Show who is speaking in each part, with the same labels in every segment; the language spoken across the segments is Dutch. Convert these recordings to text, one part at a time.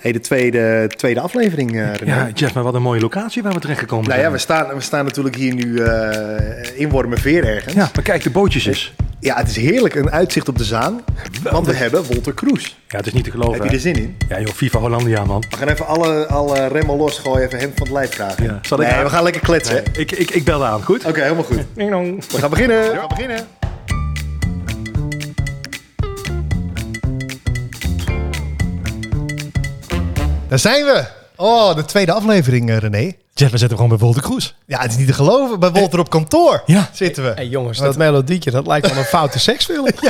Speaker 1: hey, de tweede, tweede aflevering, eh, René.
Speaker 2: Ja, Jeff, maar wat een mooie locatie waar we terechtgekomen
Speaker 1: nou ja,
Speaker 2: zijn.
Speaker 1: we staan, we staan natuurlijk hier nu eh in Wormerveer ergens.
Speaker 2: ja, maar kijk, de bootjes is.
Speaker 1: Ja, het is heerlijk. Een uitzicht op de Zaan. Want we hebben Wolter Kroes.
Speaker 2: Ja, het is niet te geloven.
Speaker 1: Heb je
Speaker 2: hè?
Speaker 1: er zin in?
Speaker 2: Ja, joh, FIFA Hollandia, man.
Speaker 1: We gaan even alle, alle remmen losgooien. Even hem van het lijf vragen.
Speaker 2: Ja. Zal ik
Speaker 1: nee,
Speaker 2: aan-
Speaker 1: we gaan lekker kletsen. hè?
Speaker 2: Eh, Ik, ik, ik belde aan, goed?
Speaker 1: Oké, helemaal goed.
Speaker 2: Ding dong.
Speaker 1: We gaan beginnen. We gaan beginnen. Daar zijn we. Oh, de tweede aflevering, eh, René.
Speaker 3: Jeff, we zitten gewoon bij Wolter Kroes.
Speaker 1: Ja, het is niet te geloven. Bij Wolter op kantoor
Speaker 3: Ja.
Speaker 1: zitten
Speaker 4: Hé
Speaker 1: we.
Speaker 4: jongens, dat melodietje, dat lijkt wel een foute seksfilm.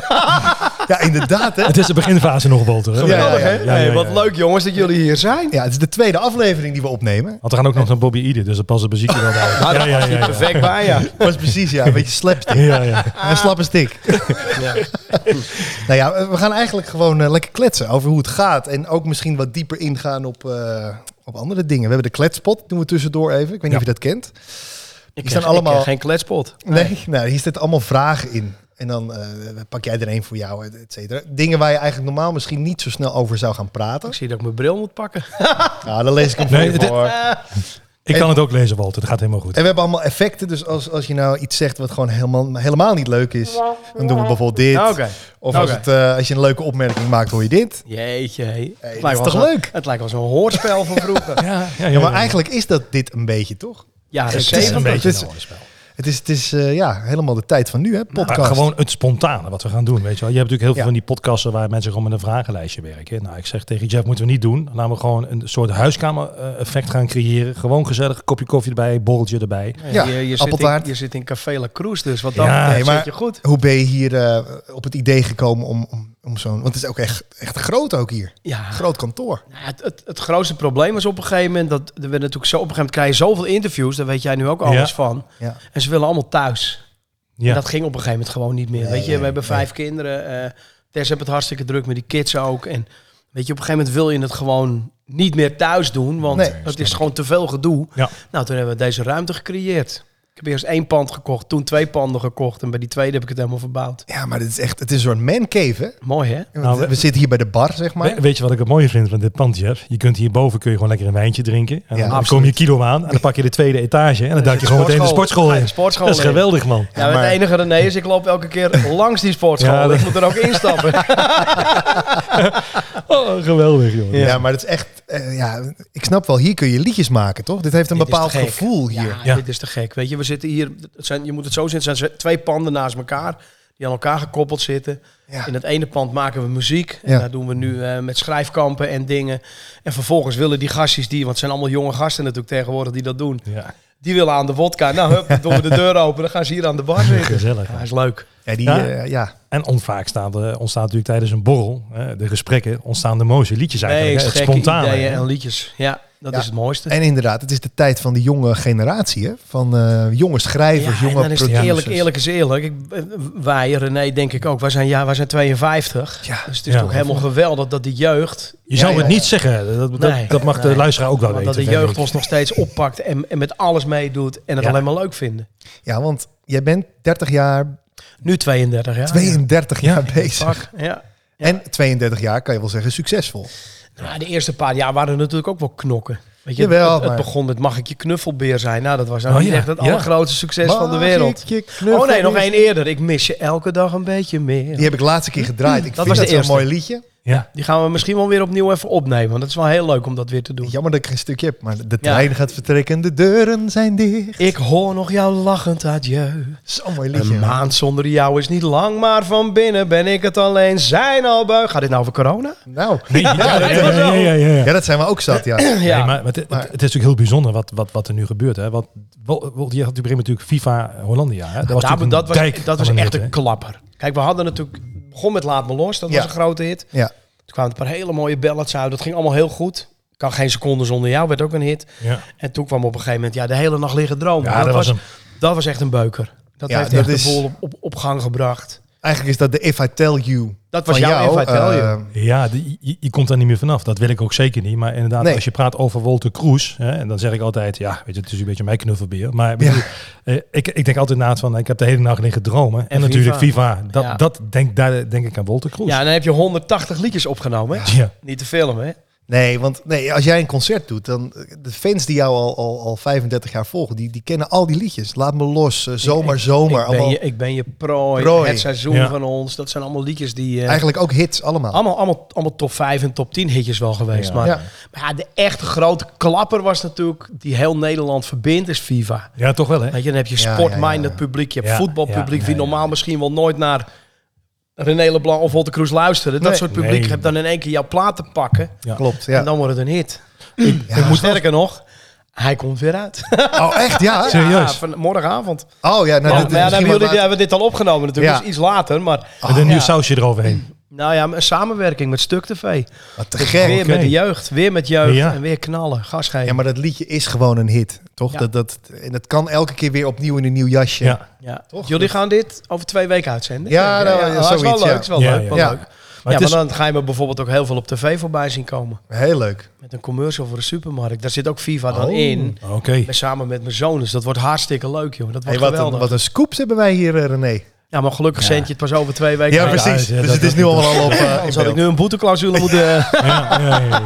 Speaker 1: Ja, inderdaad, hè?
Speaker 3: Het is de beginfase nog, Wolter. hè?
Speaker 1: Ja, ja, ja,
Speaker 3: ja, ja,
Speaker 4: Hey,
Speaker 3: ja.
Speaker 4: wat leuk jongens dat jullie hier zijn.
Speaker 1: Ja, het is de tweede aflevering die we opnemen.
Speaker 3: Want we gaan ook nog naar Bobby Ieder, dus dat past het muziekje wel bij.
Speaker 4: Nou, dat was niet perfect bij ja.
Speaker 1: Was precies, ja. Een beetje slapstick.
Speaker 3: Ja, ja.
Speaker 1: Een slappe stick. nou ja, we gaan eigenlijk gewoon eh, lekker kletsen over hoe het gaat. En ook misschien wat dieper ingaan op, eh, op andere dingen. We hebben de kletspot, doen we tussendoor even. Ik weet niet
Speaker 3: Ja.
Speaker 1: of je dat kent.
Speaker 4: Ik
Speaker 1: ken-
Speaker 4: ken
Speaker 1: allemaal-
Speaker 4: ik ken geen kletspot.
Speaker 1: Nee, nou, hier zitten allemaal vragen in. En dan eh, pak jij er één voor jou, et cetera. Dingen waar je eigenlijk normaal misschien niet zo snel over zou gaan praten.
Speaker 4: Ik zie dat ik mijn bril moet pakken.
Speaker 1: Nou, dan lees ik hem voor
Speaker 3: Nee,
Speaker 1: je
Speaker 3: dit-
Speaker 1: voor.
Speaker 3: Ik kan het ook lezen, Walter. Dat gaat helemaal goed.
Speaker 1: En we hebben allemaal effecten. Dus als, als je nou iets zegt wat gewoon helemaal, helemaal niet leuk is, dan doen we bijvoorbeeld dit.
Speaker 4: Nou, Oké.
Speaker 1: Of
Speaker 4: Oké.
Speaker 1: als, het, eh, als je een leuke opmerking maakt, hoor je dit.
Speaker 4: Jeetje. hé. Het
Speaker 1: dat is
Speaker 4: lijkt wel
Speaker 1: toch
Speaker 4: zo'n-
Speaker 1: leuk?
Speaker 4: Het lijkt wel zo'n hoorspel van vroeger.
Speaker 3: Ja, ja, ja,
Speaker 1: Ja, maar
Speaker 3: ja.
Speaker 1: eigenlijk is dat dit een beetje, toch?
Speaker 4: Ja,
Speaker 3: Het is een beetje
Speaker 1: Het is-
Speaker 3: een ander spel.
Speaker 1: Het is, het is eh, ja, helemaal de tijd van nu, hè?
Speaker 4: Nou,
Speaker 3: Maar
Speaker 1: Podcast.
Speaker 3: gewoon het spontane wat we gaan doen, weet je wel. Je hebt natuurlijk heel veel
Speaker 1: Ja.
Speaker 3: van die podcasten waar mensen gewoon met een vragenlijstje werken. Nou, ik zeg tegen Jeff, moeten we niet doen. Laten we gewoon een soort huiskamer-effect gaan creëren. Gewoon gezellig, kopje koffie erbij, borreltje erbij.
Speaker 1: Ja,
Speaker 4: je, je, zit in,
Speaker 1: appeltaart.
Speaker 4: je zit in Café La Cruz, dus wat dan
Speaker 3: Ja,
Speaker 4: betreft
Speaker 1: nee, maar-
Speaker 4: zit je goed.
Speaker 1: Hoe ben je hier eh, op het idee gekomen om, om, om zo'n... Want het is ook echt, echt groot ook hier.
Speaker 4: Ja,
Speaker 1: Groot kantoor.
Speaker 4: nou, het, het, het grootste probleem is op een gegeven moment dat we natuurlijk zo op een gegeven moment krijg je zoveel interviews, daar weet jij nu ook
Speaker 3: Ja.
Speaker 4: alles van.
Speaker 1: Ja.
Speaker 4: En ze willen allemaal thuis.
Speaker 3: Ja,
Speaker 4: En dat ging op een gegeven moment gewoon niet meer.
Speaker 1: Nee,
Speaker 4: weet je,
Speaker 1: nee,
Speaker 4: we hebben
Speaker 1: nee.
Speaker 4: vijf kinderen. eh Tess heeft het hartstikke druk met die kids ook. En weet je, op een gegeven moment wil je het gewoon niet meer thuis doen. Want
Speaker 1: Nee,
Speaker 4: het is gewoon te veel gedoe.
Speaker 3: Ja.
Speaker 4: Nou, toen hebben we deze ruimte gecreëerd. Ik heb eerst één pand gekocht, toen twee panden gekocht. En bij die tweede heb ik het helemaal verbouwd.
Speaker 1: Ja, maar dit is echt, het is een soort mancave, hè?
Speaker 4: Mooi hè?
Speaker 3: Nou,
Speaker 1: we,
Speaker 3: we-
Speaker 1: we zitten hier bij de bar, zeg maar.
Speaker 3: We- weet je wat ik het mooie vind van dit pand, Jeff? Je kunt hierboven kun je gewoon lekker een wijntje drinken. En
Speaker 1: Ja,
Speaker 3: dan
Speaker 1: absoluut.
Speaker 3: kom je kilo aan en dan pak je de tweede etage. En dan duik je gewoon meteen de sportschool
Speaker 4: Ja,
Speaker 3: in.
Speaker 4: de sportschool
Speaker 3: Dat is
Speaker 4: in.
Speaker 3: geweldig, man.
Speaker 4: Ja, maar
Speaker 1: maar-
Speaker 4: het enige René is, ik loop elke keer langs die sportschool.
Speaker 3: Ja, dat-
Speaker 4: Ik moet er ook instappen.
Speaker 3: Oh, geweldig, joh.
Speaker 1: Ja. maar dat is echt... eh, ja, ik snap wel, hier kun je liedjes maken, toch? Dit heeft een
Speaker 4: Dit is
Speaker 1: bepaald
Speaker 4: te gek.
Speaker 1: gevoel hier.
Speaker 4: Ja,
Speaker 3: Ja.
Speaker 4: dit is te gek. Weet je, we zitten hier, het zijn, je moet het zo zien, het zijn twee panden naast elkaar die aan elkaar gekoppeld zitten.
Speaker 1: Ja.
Speaker 4: In het ene pand maken we muziek. En
Speaker 1: Ja.
Speaker 4: daar doen we nu eh, met schrijfkampen en dingen. En vervolgens willen die gastjes die, want het zijn allemaal jonge gasten natuurlijk tegenwoordig die dat doen.
Speaker 3: Ja,
Speaker 4: Die willen aan de wodka. Nou, hup, dan doen we de deur open. Dan gaan ze hier aan de bar zitten.
Speaker 3: gezellig.
Speaker 4: Ja, is leuk.
Speaker 1: Ja, die,
Speaker 3: Ja.
Speaker 1: eh, ja.
Speaker 3: En onvaak staan de, ontstaan natuurlijk tijdens een borrel, hè, de gesprekken, ontstaan de mooiste liedjes
Speaker 4: Nee,
Speaker 3: eigenlijk. hè,
Speaker 4: gekke
Speaker 3: het spontane.
Speaker 4: ideeën
Speaker 3: hè.
Speaker 4: en liedjes. Ja, dat
Speaker 1: Ja.
Speaker 4: is het mooiste.
Speaker 1: En inderdaad, het is de tijd van de jonge generatie, hè? Van eh, jonge schrijvers,
Speaker 4: Ja, en
Speaker 1: jonge
Speaker 4: dan is het
Speaker 1: producers.
Speaker 4: eerlijk, eerlijk is eerlijk. Ik, eh, wij, René, denk ik ook. Wij zijn, ja, wij zijn 52.
Speaker 1: Ja.
Speaker 4: dus het is
Speaker 3: Ja.
Speaker 4: toch helemaal geweldig dat die jeugd...
Speaker 3: Je zou
Speaker 1: Ja,
Speaker 3: het
Speaker 1: ja,
Speaker 3: niet zeggen. Dat, dat,
Speaker 4: Nee.
Speaker 3: dat mag de
Speaker 4: Nee.
Speaker 3: luisteraar ook wel
Speaker 4: want
Speaker 3: weten.
Speaker 4: dat de
Speaker 3: vind
Speaker 4: jeugd
Speaker 3: ik.
Speaker 4: ons nog steeds oppakt en, en met alles meedoet en het
Speaker 3: Ja.
Speaker 4: alleen maar leuk vinden.
Speaker 1: Ja, want jij bent 30 jaar,
Speaker 4: Nu 32, Ah, ja.
Speaker 1: 32
Speaker 3: Ja,
Speaker 1: jaar bezig.
Speaker 4: Fuck, ja. Ja.
Speaker 1: En 32 jaar kan je wel zeggen succesvol.
Speaker 4: Nou, de eerste paar jaar waren er natuurlijk ook wel knokken. Weet je,
Speaker 1: Jawel,
Speaker 4: het, het
Speaker 1: maar-
Speaker 4: begon met mag ik je knuffelbeer zijn. Nou, dat was nou
Speaker 3: Oh,
Speaker 4: niet
Speaker 3: ja.
Speaker 4: echt het
Speaker 3: Ja.
Speaker 4: allergrootste succes van de
Speaker 1: Mag
Speaker 4: wereld.
Speaker 1: ik je knuffel?
Speaker 4: Oh nee, nog één eerder. Ik mis je elke dag een beetje meer.
Speaker 1: Die heb ik laatste keer gedraaid. Ik
Speaker 4: Dat
Speaker 1: vind
Speaker 4: was de
Speaker 1: dat zo'n
Speaker 4: eerste.
Speaker 1: mooi liedje.
Speaker 3: Ja.
Speaker 4: Die gaan we misschien wel weer opnieuw even opnemen. Want dat is wel heel leuk om dat weer te doen.
Speaker 1: Jammer dat ik geen stukje heb, maar de trein gaat vertrekken, de deuren zijn dicht.
Speaker 4: Ik hoor nog jou lachend adieu.
Speaker 1: Zo'n mooi liedje.
Speaker 4: Een maand zonder jou is niet lang, maar van binnen ben ik het alleen. Zijn al bui. Gaat dit nou over corona?
Speaker 1: Nou,
Speaker 3: Nee, ja, ja, ja, ja, ja, ja.
Speaker 1: ja, dat zijn we ook zat, ja.
Speaker 4: Ja.
Speaker 3: Nee, maar het, het- het is natuurlijk heel bijzonder wat, wat, wat er nu gebeurt. Hè? Want wel- wel- je had op een gegeven moment natuurlijk FIFA Hollandia. Hè? Dat was, natuurlijk
Speaker 4: Daar- Nou, dat
Speaker 3: een
Speaker 4: was,
Speaker 3: dijk
Speaker 4: dat was
Speaker 3: van
Speaker 4: echt
Speaker 3: net,
Speaker 4: een klapper. Kijk, we hadden natuurlijk... Begon met Laat Me Los, dat
Speaker 1: Ja.
Speaker 4: was een grote hit.
Speaker 1: Ja.
Speaker 4: Toen kwamen een paar hele mooie ballads uit. Dat ging allemaal heel goed. Kan geen seconde zonder jou, werd ook een hit.
Speaker 3: hè. Ja.
Speaker 4: En toen kwam op een gegeven moment... Ja, de hele nacht liggen dromen.
Speaker 3: Ja, dat was hem.
Speaker 4: dat was echt een beuker. Dat
Speaker 1: Ja,
Speaker 4: heeft
Speaker 1: dat
Speaker 4: echt
Speaker 1: is-
Speaker 4: de boel op, op, op gang gebracht.
Speaker 1: Eigenlijk is dat de If I Tell You
Speaker 4: Dat was
Speaker 1: van
Speaker 4: jouw
Speaker 1: jou.
Speaker 4: If I Tell You.
Speaker 1: eh,
Speaker 3: Ja, die- je, je komt daar niet meer vanaf. Dat wil ik ook zeker niet. Maar inderdaad,
Speaker 1: Nee.
Speaker 3: als je praat over Wolter Kroes, hè, en dan zeg ik altijd, ja, weet je, het is een beetje mijn knuffelbeer. Maar ik bedoel, eh, ik, ik denk altijd na het van, ik heb de hele nacht liggen dromen. En,
Speaker 4: En
Speaker 3: natuurlijk
Speaker 4: FIFA.
Speaker 3: FIFA. Dat,
Speaker 4: Ja.
Speaker 3: dat denk, daar denk ik aan Wolter Kroes.
Speaker 4: Ja, en dan heb je 180 liedjes opgenomen. hè?
Speaker 3: Ja.
Speaker 4: Niet te film, hè?
Speaker 1: Nee, want nee, als jij een concert doet, dan eh, de fans die jou al, al, al 35 jaar volgen, die, die kennen al die liedjes. Laat me los, eh, zomaar, zomaar.
Speaker 4: ik, ben
Speaker 1: allemaal,
Speaker 4: je, ik ben je prooi,
Speaker 1: Prooi.
Speaker 4: het seizoen
Speaker 3: Ja.
Speaker 4: van ons. Dat zijn allemaal liedjes die... eh,
Speaker 1: Eigenlijk ook hits allemaal.
Speaker 4: allemaal, allemaal, allemaal top 5 en top 10 hitjes wel geweest.
Speaker 3: Ja.
Speaker 4: Maar,
Speaker 1: Ja.
Speaker 4: maar ja, de echt grote klapper was natuurlijk... die heel Nederland verbindt, is FIFA.
Speaker 3: Ja, toch wel, hè?
Speaker 4: Weet je, dan heb je
Speaker 1: Ja, ja,
Speaker 4: sportminded
Speaker 1: ja.
Speaker 4: publiek, je hebt
Speaker 3: Ja,
Speaker 4: voetbalpubliek...
Speaker 3: ja,
Speaker 4: die
Speaker 3: ja, ja.
Speaker 4: normaal misschien wel nooit naar René Leblanc of Walter Kroes luisteren. Dat
Speaker 1: Nee.
Speaker 4: soort publiek
Speaker 3: Nee.
Speaker 4: hebt dan in één keer jouw plaat te pakken...
Speaker 3: Ja.
Speaker 1: Klopt, ja.
Speaker 4: en dan wordt het een hit.
Speaker 1: Ja.
Speaker 4: Moet Sterker nog, hij komt weer uit.
Speaker 1: Oh, echt? Ja?
Speaker 3: Serieus?
Speaker 4: Ja, van morgenavond.
Speaker 1: Oh, ja. Nou, dit is
Speaker 4: Maar- maar ja, dan
Speaker 1: misschien
Speaker 4: hebben,
Speaker 1: wel
Speaker 4: jullie,
Speaker 1: laat-
Speaker 4: hebben we dit al opgenomen natuurlijk,
Speaker 1: Ja.
Speaker 4: dus iets later. Maar
Speaker 1: Ah,
Speaker 3: Met een
Speaker 4: Ah, ja.
Speaker 3: nieuw sausje eroverheen.
Speaker 4: nou ja, een samenwerking met Stuk TV.
Speaker 1: Wat te
Speaker 4: Dus
Speaker 1: gek.
Speaker 4: weer
Speaker 3: Oké.
Speaker 4: met de jeugd, weer met jeugd
Speaker 3: Ja.
Speaker 4: en weer knallen, gas geven.
Speaker 1: Ja, maar dat liedje is gewoon een hit, toch?
Speaker 4: Ja.
Speaker 1: Dat, dat, en dat kan elke keer weer opnieuw in een nieuw jasje.
Speaker 3: Ja.
Speaker 4: Ja.
Speaker 1: Toch?
Speaker 4: Jullie gaan dit over twee weken uitzenden?
Speaker 1: Ja, nou, ja,
Speaker 4: dat Ah, is wel
Speaker 1: zoiets,
Speaker 4: leuk.
Speaker 1: ja.
Speaker 4: dat is wel
Speaker 3: Ja,
Speaker 4: leuk.
Speaker 3: ja.
Speaker 4: wel
Speaker 1: Ja.
Speaker 4: leuk. Ja,
Speaker 3: Maar het
Speaker 4: maar
Speaker 3: is,
Speaker 4: dan ga je me bijvoorbeeld ook heel veel op tv voorbij zien komen.
Speaker 1: Heel leuk.
Speaker 4: Met een commercial voor een supermarkt. Daar zit ook FIFA dan
Speaker 1: Oh.
Speaker 4: in.
Speaker 3: Oké.
Speaker 4: Met- Samen met mijn zoon. Dus dat wordt hartstikke leuk, joh. Dat
Speaker 1: Hey,
Speaker 4: wordt
Speaker 1: wat, een,
Speaker 4: geweldig.
Speaker 1: wat een scoops hebben wij hier, eh, René.
Speaker 4: Ja, maar gelukkig
Speaker 3: Ja.
Speaker 4: zend je het pas over twee weken.
Speaker 1: Ja,
Speaker 4: uit.
Speaker 1: precies.
Speaker 3: ja,
Speaker 1: dus
Speaker 3: dat-
Speaker 1: het is
Speaker 3: dat-
Speaker 1: nu allemaal op eh, in
Speaker 4: Anders had ik
Speaker 1: beeld.
Speaker 4: nu een boeteclausule moeten...
Speaker 3: Ja, ja, ja, ja.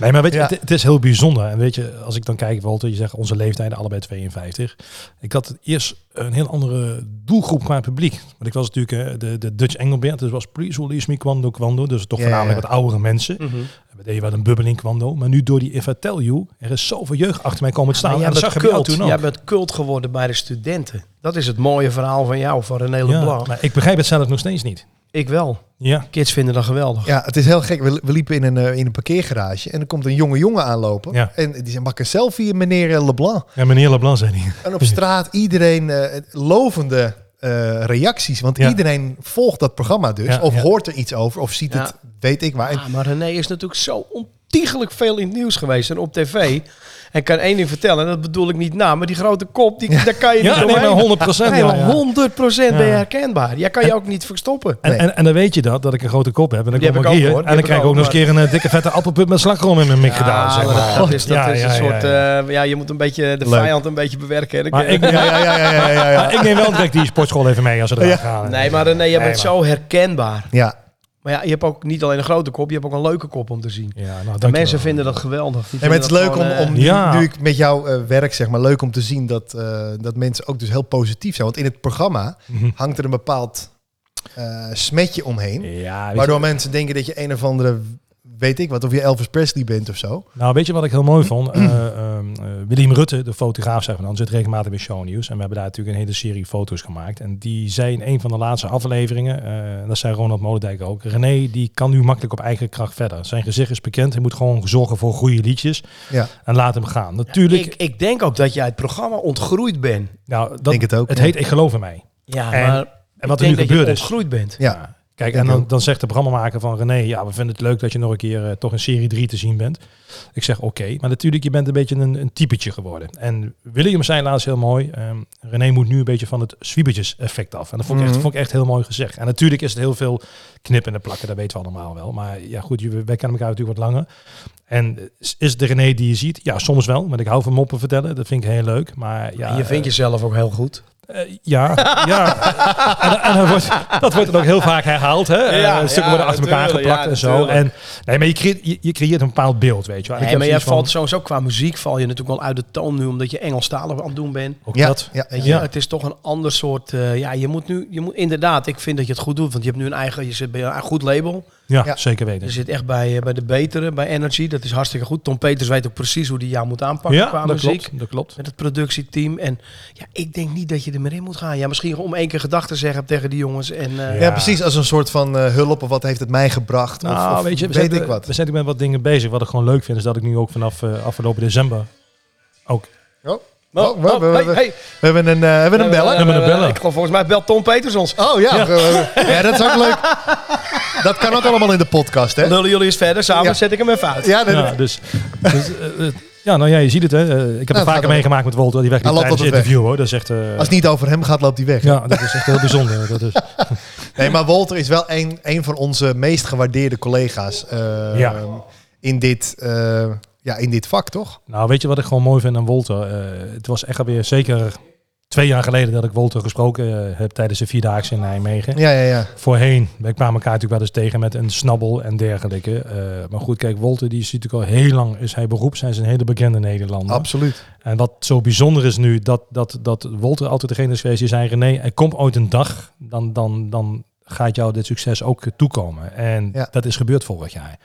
Speaker 3: Nee, maar weet je,
Speaker 1: Ja.
Speaker 3: het, het is heel bijzonder. En weet je, als ik dan kijk, Walter, je zegt onze leeftijden allebei 52. Ik had eerst een heel andere doelgroep qua publiek. Want ik was natuurlijk eh, de, de Dutch Engelbert, dus was Please Release Me Kwando Kwando. Dus toch
Speaker 1: Ja,
Speaker 3: voornamelijk
Speaker 1: ja.
Speaker 3: wat oudere mensen.
Speaker 4: Mm. Mhm.
Speaker 1: Nou,
Speaker 3: We deden wel een bubbeling Kwando. Maar nu door die If I Tell You, er is zoveel jeugd achter mij komen te staan.
Speaker 4: Maar
Speaker 3: en dat zag ik bij jou
Speaker 4: cult.
Speaker 3: toen ook.
Speaker 4: Jij bent cult geworden bij de studenten. Dat is het mooie verhaal van jou, van René Leblanc.
Speaker 3: Ja, maar ik begrijp het zelf nog steeds niet.
Speaker 4: Ik wel.
Speaker 3: Ja,
Speaker 4: Kids vinden dat geweldig.
Speaker 1: Ja, het is heel gek. We, we liepen in een, eh, in een parkeergarage en er komt een jonge jongen aanlopen.
Speaker 3: Ja.
Speaker 1: En die zei, maak een selfie, meneer eh, Leblanc.
Speaker 3: en meneer Leblanc zei die.
Speaker 1: En op straat iedereen eh, lovende eh, reacties. Want
Speaker 3: Ja.
Speaker 1: iedereen volgt dat programma dus.
Speaker 3: Ja,
Speaker 1: of
Speaker 3: ja.
Speaker 1: hoort er iets over. Of ziet
Speaker 4: Ja.
Speaker 1: het, weet ik maar. En-
Speaker 4: Ah, maar René is natuurlijk zo ontiegelijk veel in het nieuws geweest en op tv. En ik kan één ding vertellen, en dat bedoel ik niet na, maar die grote kop, die, daar kan je
Speaker 3: Ja,
Speaker 4: niet
Speaker 3: nee, maar
Speaker 4: omheen.
Speaker 3: 100 procent.
Speaker 4: Nee, maar 100% ben je
Speaker 3: Ja.
Speaker 4: herkenbaar. Jij kan je ook niet verstoppen.
Speaker 3: En,
Speaker 1: Nee.
Speaker 3: en, en dan weet je dat, dat ik een grote kop heb. En dan
Speaker 4: Die
Speaker 3: kom ik
Speaker 4: heb ik ook,
Speaker 3: hier.
Speaker 4: hoor. Die
Speaker 3: En dan
Speaker 4: heb ik
Speaker 3: krijg ik ook
Speaker 4: ook,
Speaker 3: nog eens een keer een eh, dikke vette appelpunt met slagroom in mijn mik gedaan. Zeg maar.
Speaker 4: dat is, dat
Speaker 3: Ja,
Speaker 4: is
Speaker 3: ja,
Speaker 4: Ah, een
Speaker 3: ja,
Speaker 4: soort... eh,
Speaker 3: ja.
Speaker 4: Ja, ja, je moet een beetje de
Speaker 1: Leuk.
Speaker 4: vijand een beetje bewerken. hè.
Speaker 3: Maar ik,
Speaker 1: ja, ja, ja, ja, ja, ja, ja.
Speaker 3: maar ik neem wel direct die sportschool even mee als ze eraan gaan.
Speaker 4: nee, maar René, je
Speaker 3: Nee,
Speaker 4: bent
Speaker 3: maar-
Speaker 4: zo herkenbaar.
Speaker 1: Ja.
Speaker 4: Maar ja, je hebt ook niet alleen een grote kop, je hebt ook een leuke kop om te zien.
Speaker 3: Ja, nou, dank je
Speaker 4: De
Speaker 3: wel.
Speaker 4: mensen vinden dat geweldig. Die
Speaker 1: En het is
Speaker 4: vinden
Speaker 1: leuk
Speaker 4: dat
Speaker 1: om,
Speaker 4: gewoon,
Speaker 1: om
Speaker 3: eh, ja.
Speaker 1: nu, nu ik met jou eh, werk, zeg maar, leuk om te zien dat, eh, dat mensen ook dus heel positief zijn. Want in het programma
Speaker 3: Mhm.
Speaker 1: hangt er een bepaald eh, smetje omheen.
Speaker 3: Ja, weet je-
Speaker 1: Waardoor mensen denken dat je een of andere, weet ik wat, of je Elvis Presley bent of zo.
Speaker 3: nou, weet je wat ik heel mooi vond? Eh, ehm, eh, Willem Rutte, de fotograaf, zeg maar, dan zit regelmatig bij Show News. En we hebben daar natuurlijk een hele serie foto's gemaakt. En die zei in een van de laatste afleveringen, eh, dat zei Ronald Molendijk ook, René, die kan nu makkelijk op eigen kracht verder. Zijn gezicht is bekend, hij moet gewoon zorgen voor goede liedjes.
Speaker 1: Ja.
Speaker 3: En laat hem gaan. Natuurlijk,
Speaker 4: Ik, ik denk ook dat jij het programma ontgroeid bent.
Speaker 3: nou, dat,
Speaker 1: Denk het ook,
Speaker 3: Het
Speaker 1: ja.
Speaker 3: heet Ik geloof in mij.
Speaker 4: Ja,
Speaker 3: En-
Speaker 4: maar
Speaker 3: En wat
Speaker 4: ik
Speaker 3: er nu
Speaker 4: denk dat
Speaker 3: gebeurd
Speaker 4: je
Speaker 3: is.
Speaker 4: ontgroeid bent.
Speaker 1: Ja.
Speaker 3: Kijk,
Speaker 1: Denk
Speaker 3: en
Speaker 1: ik
Speaker 3: dan,
Speaker 1: ook.
Speaker 3: dan zegt de programmamaker van René, ja, we vinden het leuk dat je nog een keer eh, toch in serie 3 te zien bent. Ik zeg oké, maar natuurlijk, je bent een beetje een, een typetje geworden. En William zei laatst heel mooi, ehm, René moet nu een beetje van het zwiebertjes effect af. En dat vond ik,
Speaker 1: Mhm.
Speaker 3: echt, vond ik echt heel mooi gezegd. En natuurlijk is het heel veel knippen en plakken, dat weten we allemaal wel. Maar ja goed, je- wij kennen elkaar natuurlijk wat langer. En is- is het de René die je ziet? Ja, soms wel, want ik hou van moppen vertellen, dat vind ik heel leuk. Maar ja,
Speaker 4: En je vindt
Speaker 3: eh,
Speaker 4: jezelf ook heel goed.
Speaker 3: eh, ja, ja. en, en dat, wordt, dat wordt dan ook heel vaak herhaald. Hè? Eh,
Speaker 4: Ja,
Speaker 3: stukken
Speaker 4: ja,
Speaker 3: worden achter elkaar
Speaker 4: natuurlijk,
Speaker 3: geplakt
Speaker 4: ja,
Speaker 3: en zo. En,
Speaker 4: natuurlijk.
Speaker 3: nee, maar je creëert, je, je creëert een bepaald beeld, weet je wel. En ik
Speaker 4: Nee,
Speaker 3: heb
Speaker 4: maar jij
Speaker 3: zoiets
Speaker 4: valt sowieso qua muziek val je natuurlijk wel uit de toon nu, omdat je Engelstalig aan het doen bent.
Speaker 3: van, ook
Speaker 1: Ja,
Speaker 3: dat.
Speaker 1: ja,
Speaker 4: Weet
Speaker 1: ja.
Speaker 4: je,
Speaker 3: Ja.
Speaker 4: Het is toch een ander soort. eh, ja, je moet nu. Je moet, inderdaad, ik vind dat je het goed doet. Want je hebt nu een eigen. Je zit bij een goed label.
Speaker 3: Ja,
Speaker 1: Ja.
Speaker 3: zeker
Speaker 4: Je
Speaker 3: weten.
Speaker 4: zit echt bij, eh, bij de betere, bij Energy. Dat is hartstikke goed. Tom Peters weet ook precies hoe die jou moet aanpakken
Speaker 3: Ja,
Speaker 4: qua
Speaker 3: dat
Speaker 4: muziek.
Speaker 3: klopt, dat klopt.
Speaker 4: Met het productieteam. En ja, ik denk niet dat je er meer in moet gaan. Ja, misschien om één keer gedachten zeggen tegen die jongens. En, eh,
Speaker 3: Ja.
Speaker 1: precies. Als een soort van eh, hulp of wat heeft het mij gebracht. Of-
Speaker 3: Nou,
Speaker 1: of,
Speaker 3: weet je, we,
Speaker 1: weet
Speaker 3: zijn,
Speaker 1: ik wat.
Speaker 3: we zijn met wat dingen bezig. Wat ik gewoon leuk vind, is dat ik nu ook vanaf eh, afgelopen december ook...
Speaker 1: Oh,
Speaker 4: Oh,
Speaker 1: oh, we-
Speaker 4: oh,
Speaker 1: we-
Speaker 4: hey,
Speaker 1: we-
Speaker 4: hey.
Speaker 1: We hebben een, eh, we hebben een
Speaker 4: bellen.
Speaker 1: bellen.
Speaker 3: Ja, maar dan bellen.
Speaker 4: Ik geloof volgens mij belt Tom Peters ons.
Speaker 1: Oh ja. ja, dat is ook leuk. Dat kan ook allemaal in de podcast, hè?
Speaker 4: Lullen jullie eens verder, samen
Speaker 1: Ja.
Speaker 4: zet ik hem even uit.
Speaker 1: Ja, dat-
Speaker 3: Ja, dus, dus, eh, eh, ja, nou ja, je ziet het. Hè. Eh, ik heb
Speaker 1: gaat
Speaker 3: het vaker
Speaker 1: wel.
Speaker 3: meegemaakt met Walter. Die weg
Speaker 1: Hij loopt
Speaker 3: tijdens het
Speaker 1: altijd
Speaker 3: interview, hoor. Dat is echt... eh,
Speaker 1: als het niet over hem gaat, loopt hij weg.
Speaker 3: ja, dat is echt heel bijzonder. Dat is,
Speaker 1: Nee, maar Walter is wel een, een van onze meest gewaardeerde collega's eh,
Speaker 3: Ja.
Speaker 1: in, dit, eh, ja, in dit vak, toch?
Speaker 3: Nou, weet je wat ik gewoon mooi vind aan Wolter? Eh, het was echt alweer zeker twee jaar geleden dat ik Wolter gesproken eh, heb tijdens de Vierdaagse in Nijmegen.
Speaker 1: Ja, ja, ja.
Speaker 3: Voorheen, wij kwamen elkaar natuurlijk wel eens tegen met een snabbel en dergelijke. Eh, maar goed, kijk, Wolter die ziet natuurlijk al heel lang, is hij beroeps, hij is een hele bekende Nederlander.
Speaker 1: Absoluut.
Speaker 3: En wat zo bijzonder is nu, dat, dat, dat Wolter altijd degene is geweest die zei... René, er komt ooit een dag, dan, dan, dan gaat jou dit succes ook toekomen. En
Speaker 1: Ja.
Speaker 3: dat is gebeurd vorig jaar.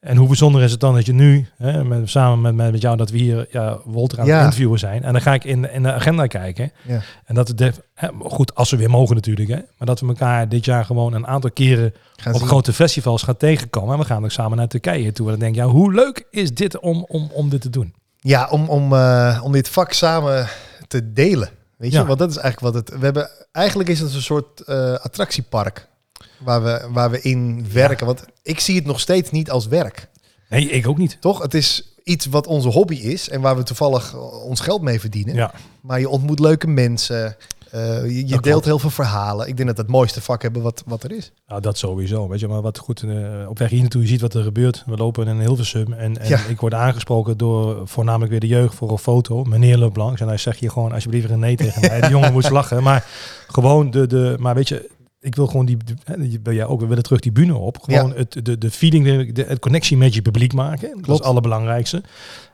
Speaker 3: En hoe bijzonder is het dan dat je nu, hè, met, samen met, met, met jou, dat we hier ja, Wolter aan
Speaker 1: Ja.
Speaker 3: het interviewen zijn. En dan ga ik in, in de agenda kijken.
Speaker 1: Ja.
Speaker 3: En dat, de, hè, goed, als we weer mogen natuurlijk. Hè, maar dat we elkaar dit jaar gewoon een aantal keren
Speaker 1: Gaan
Speaker 3: op
Speaker 1: zien.
Speaker 3: grote festivals gaan tegenkomen. En we gaan ook samen naar Turkije toe. En dan denk je, ja, hoe leuk is dit om, om, om dit te doen?
Speaker 1: Ja, om, om, eh, om dit vak samen te delen. Weet je,
Speaker 3: Ja.
Speaker 1: want dat is eigenlijk wat het. We hebben, eigenlijk is het een soort eh, attractiepark waar we, waar we in werken. Want ik zie het nog steeds niet als werk.
Speaker 3: Nee, ik ook niet.
Speaker 1: Toch? Het is iets wat onze hobby is en waar we toevallig eh, ons geld mee verdienen.
Speaker 3: Ja.
Speaker 1: Maar je ontmoet leuke mensen. eh, je je
Speaker 3: klopt.
Speaker 1: deelt heel veel verhalen. Ik denk dat we het mooiste vak hebben wat, wat er is.
Speaker 3: Nou, dat sowieso. Weet je, maar wat goed eh, op weg hier naartoe, je ziet wat er gebeurt. We lopen in Hilversum en, en
Speaker 1: Ja.
Speaker 3: ik word aangesproken door voornamelijk weer de jeugd voor een foto. Meneer Leblanc. En hij zegt hier gewoon alsjeblieft een nee tegen mij. De jongen moet lachen. Maar gewoon de, de, maar weet je, ik wil gewoon die, de- hè, die ben jij ook, we willen terug die bühne op. Gewoon het, de, de feeling, de, de het connectie met je publiek maken. Dat is het allerbelangrijkste.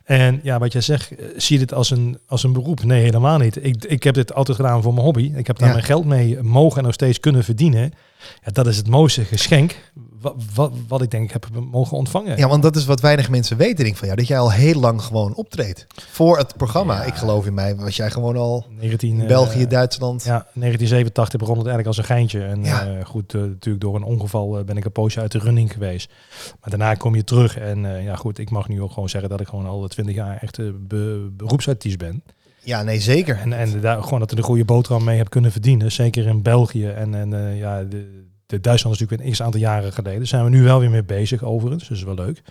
Speaker 3: En ja, wat jij zegt, eh, zie je dit als een, als een beroep? Nee, helemaal niet. Ik, ik heb dit altijd gedaan voor mijn hobby. Ik heb daar
Speaker 1: Ja.
Speaker 3: mijn geld mee mogen en nog steeds kunnen verdienen. Ja, dat is het mooiste geschenk wat, wat, wat ik denk ik heb mogen ontvangen.
Speaker 1: Ja, want dat is wat weinig mensen weten, denk ik van jou. Dat jij al heel lang gewoon optreedt. Voor het programma,
Speaker 3: Ja.
Speaker 1: ik geloof in mij, was jij gewoon al
Speaker 3: 19,
Speaker 1: in
Speaker 3: eh,
Speaker 1: België, Duitsland.
Speaker 3: Ja, 1987 begon het eigenlijk als een geintje. En
Speaker 1: Ja.
Speaker 3: eh, goed, eh, natuurlijk door een ongeval eh, ben ik een poosje uit de running geweest. Maar daarna kom je terug. En eh, ja, goed, ik mag nu ook gewoon zeggen dat ik gewoon al 20 jaar echt eh, be- beroepsartiest ben.
Speaker 1: Ja, nee, zeker.
Speaker 3: En, en daar, gewoon dat ik een goede boterham mee heb kunnen verdienen. Zeker in België. En, en eh, ja, de, de Duitsland is natuurlijk een x aantal jaren geleden. Daar zijn we nu wel weer mee bezig overigens. Dus dat is wel leuk.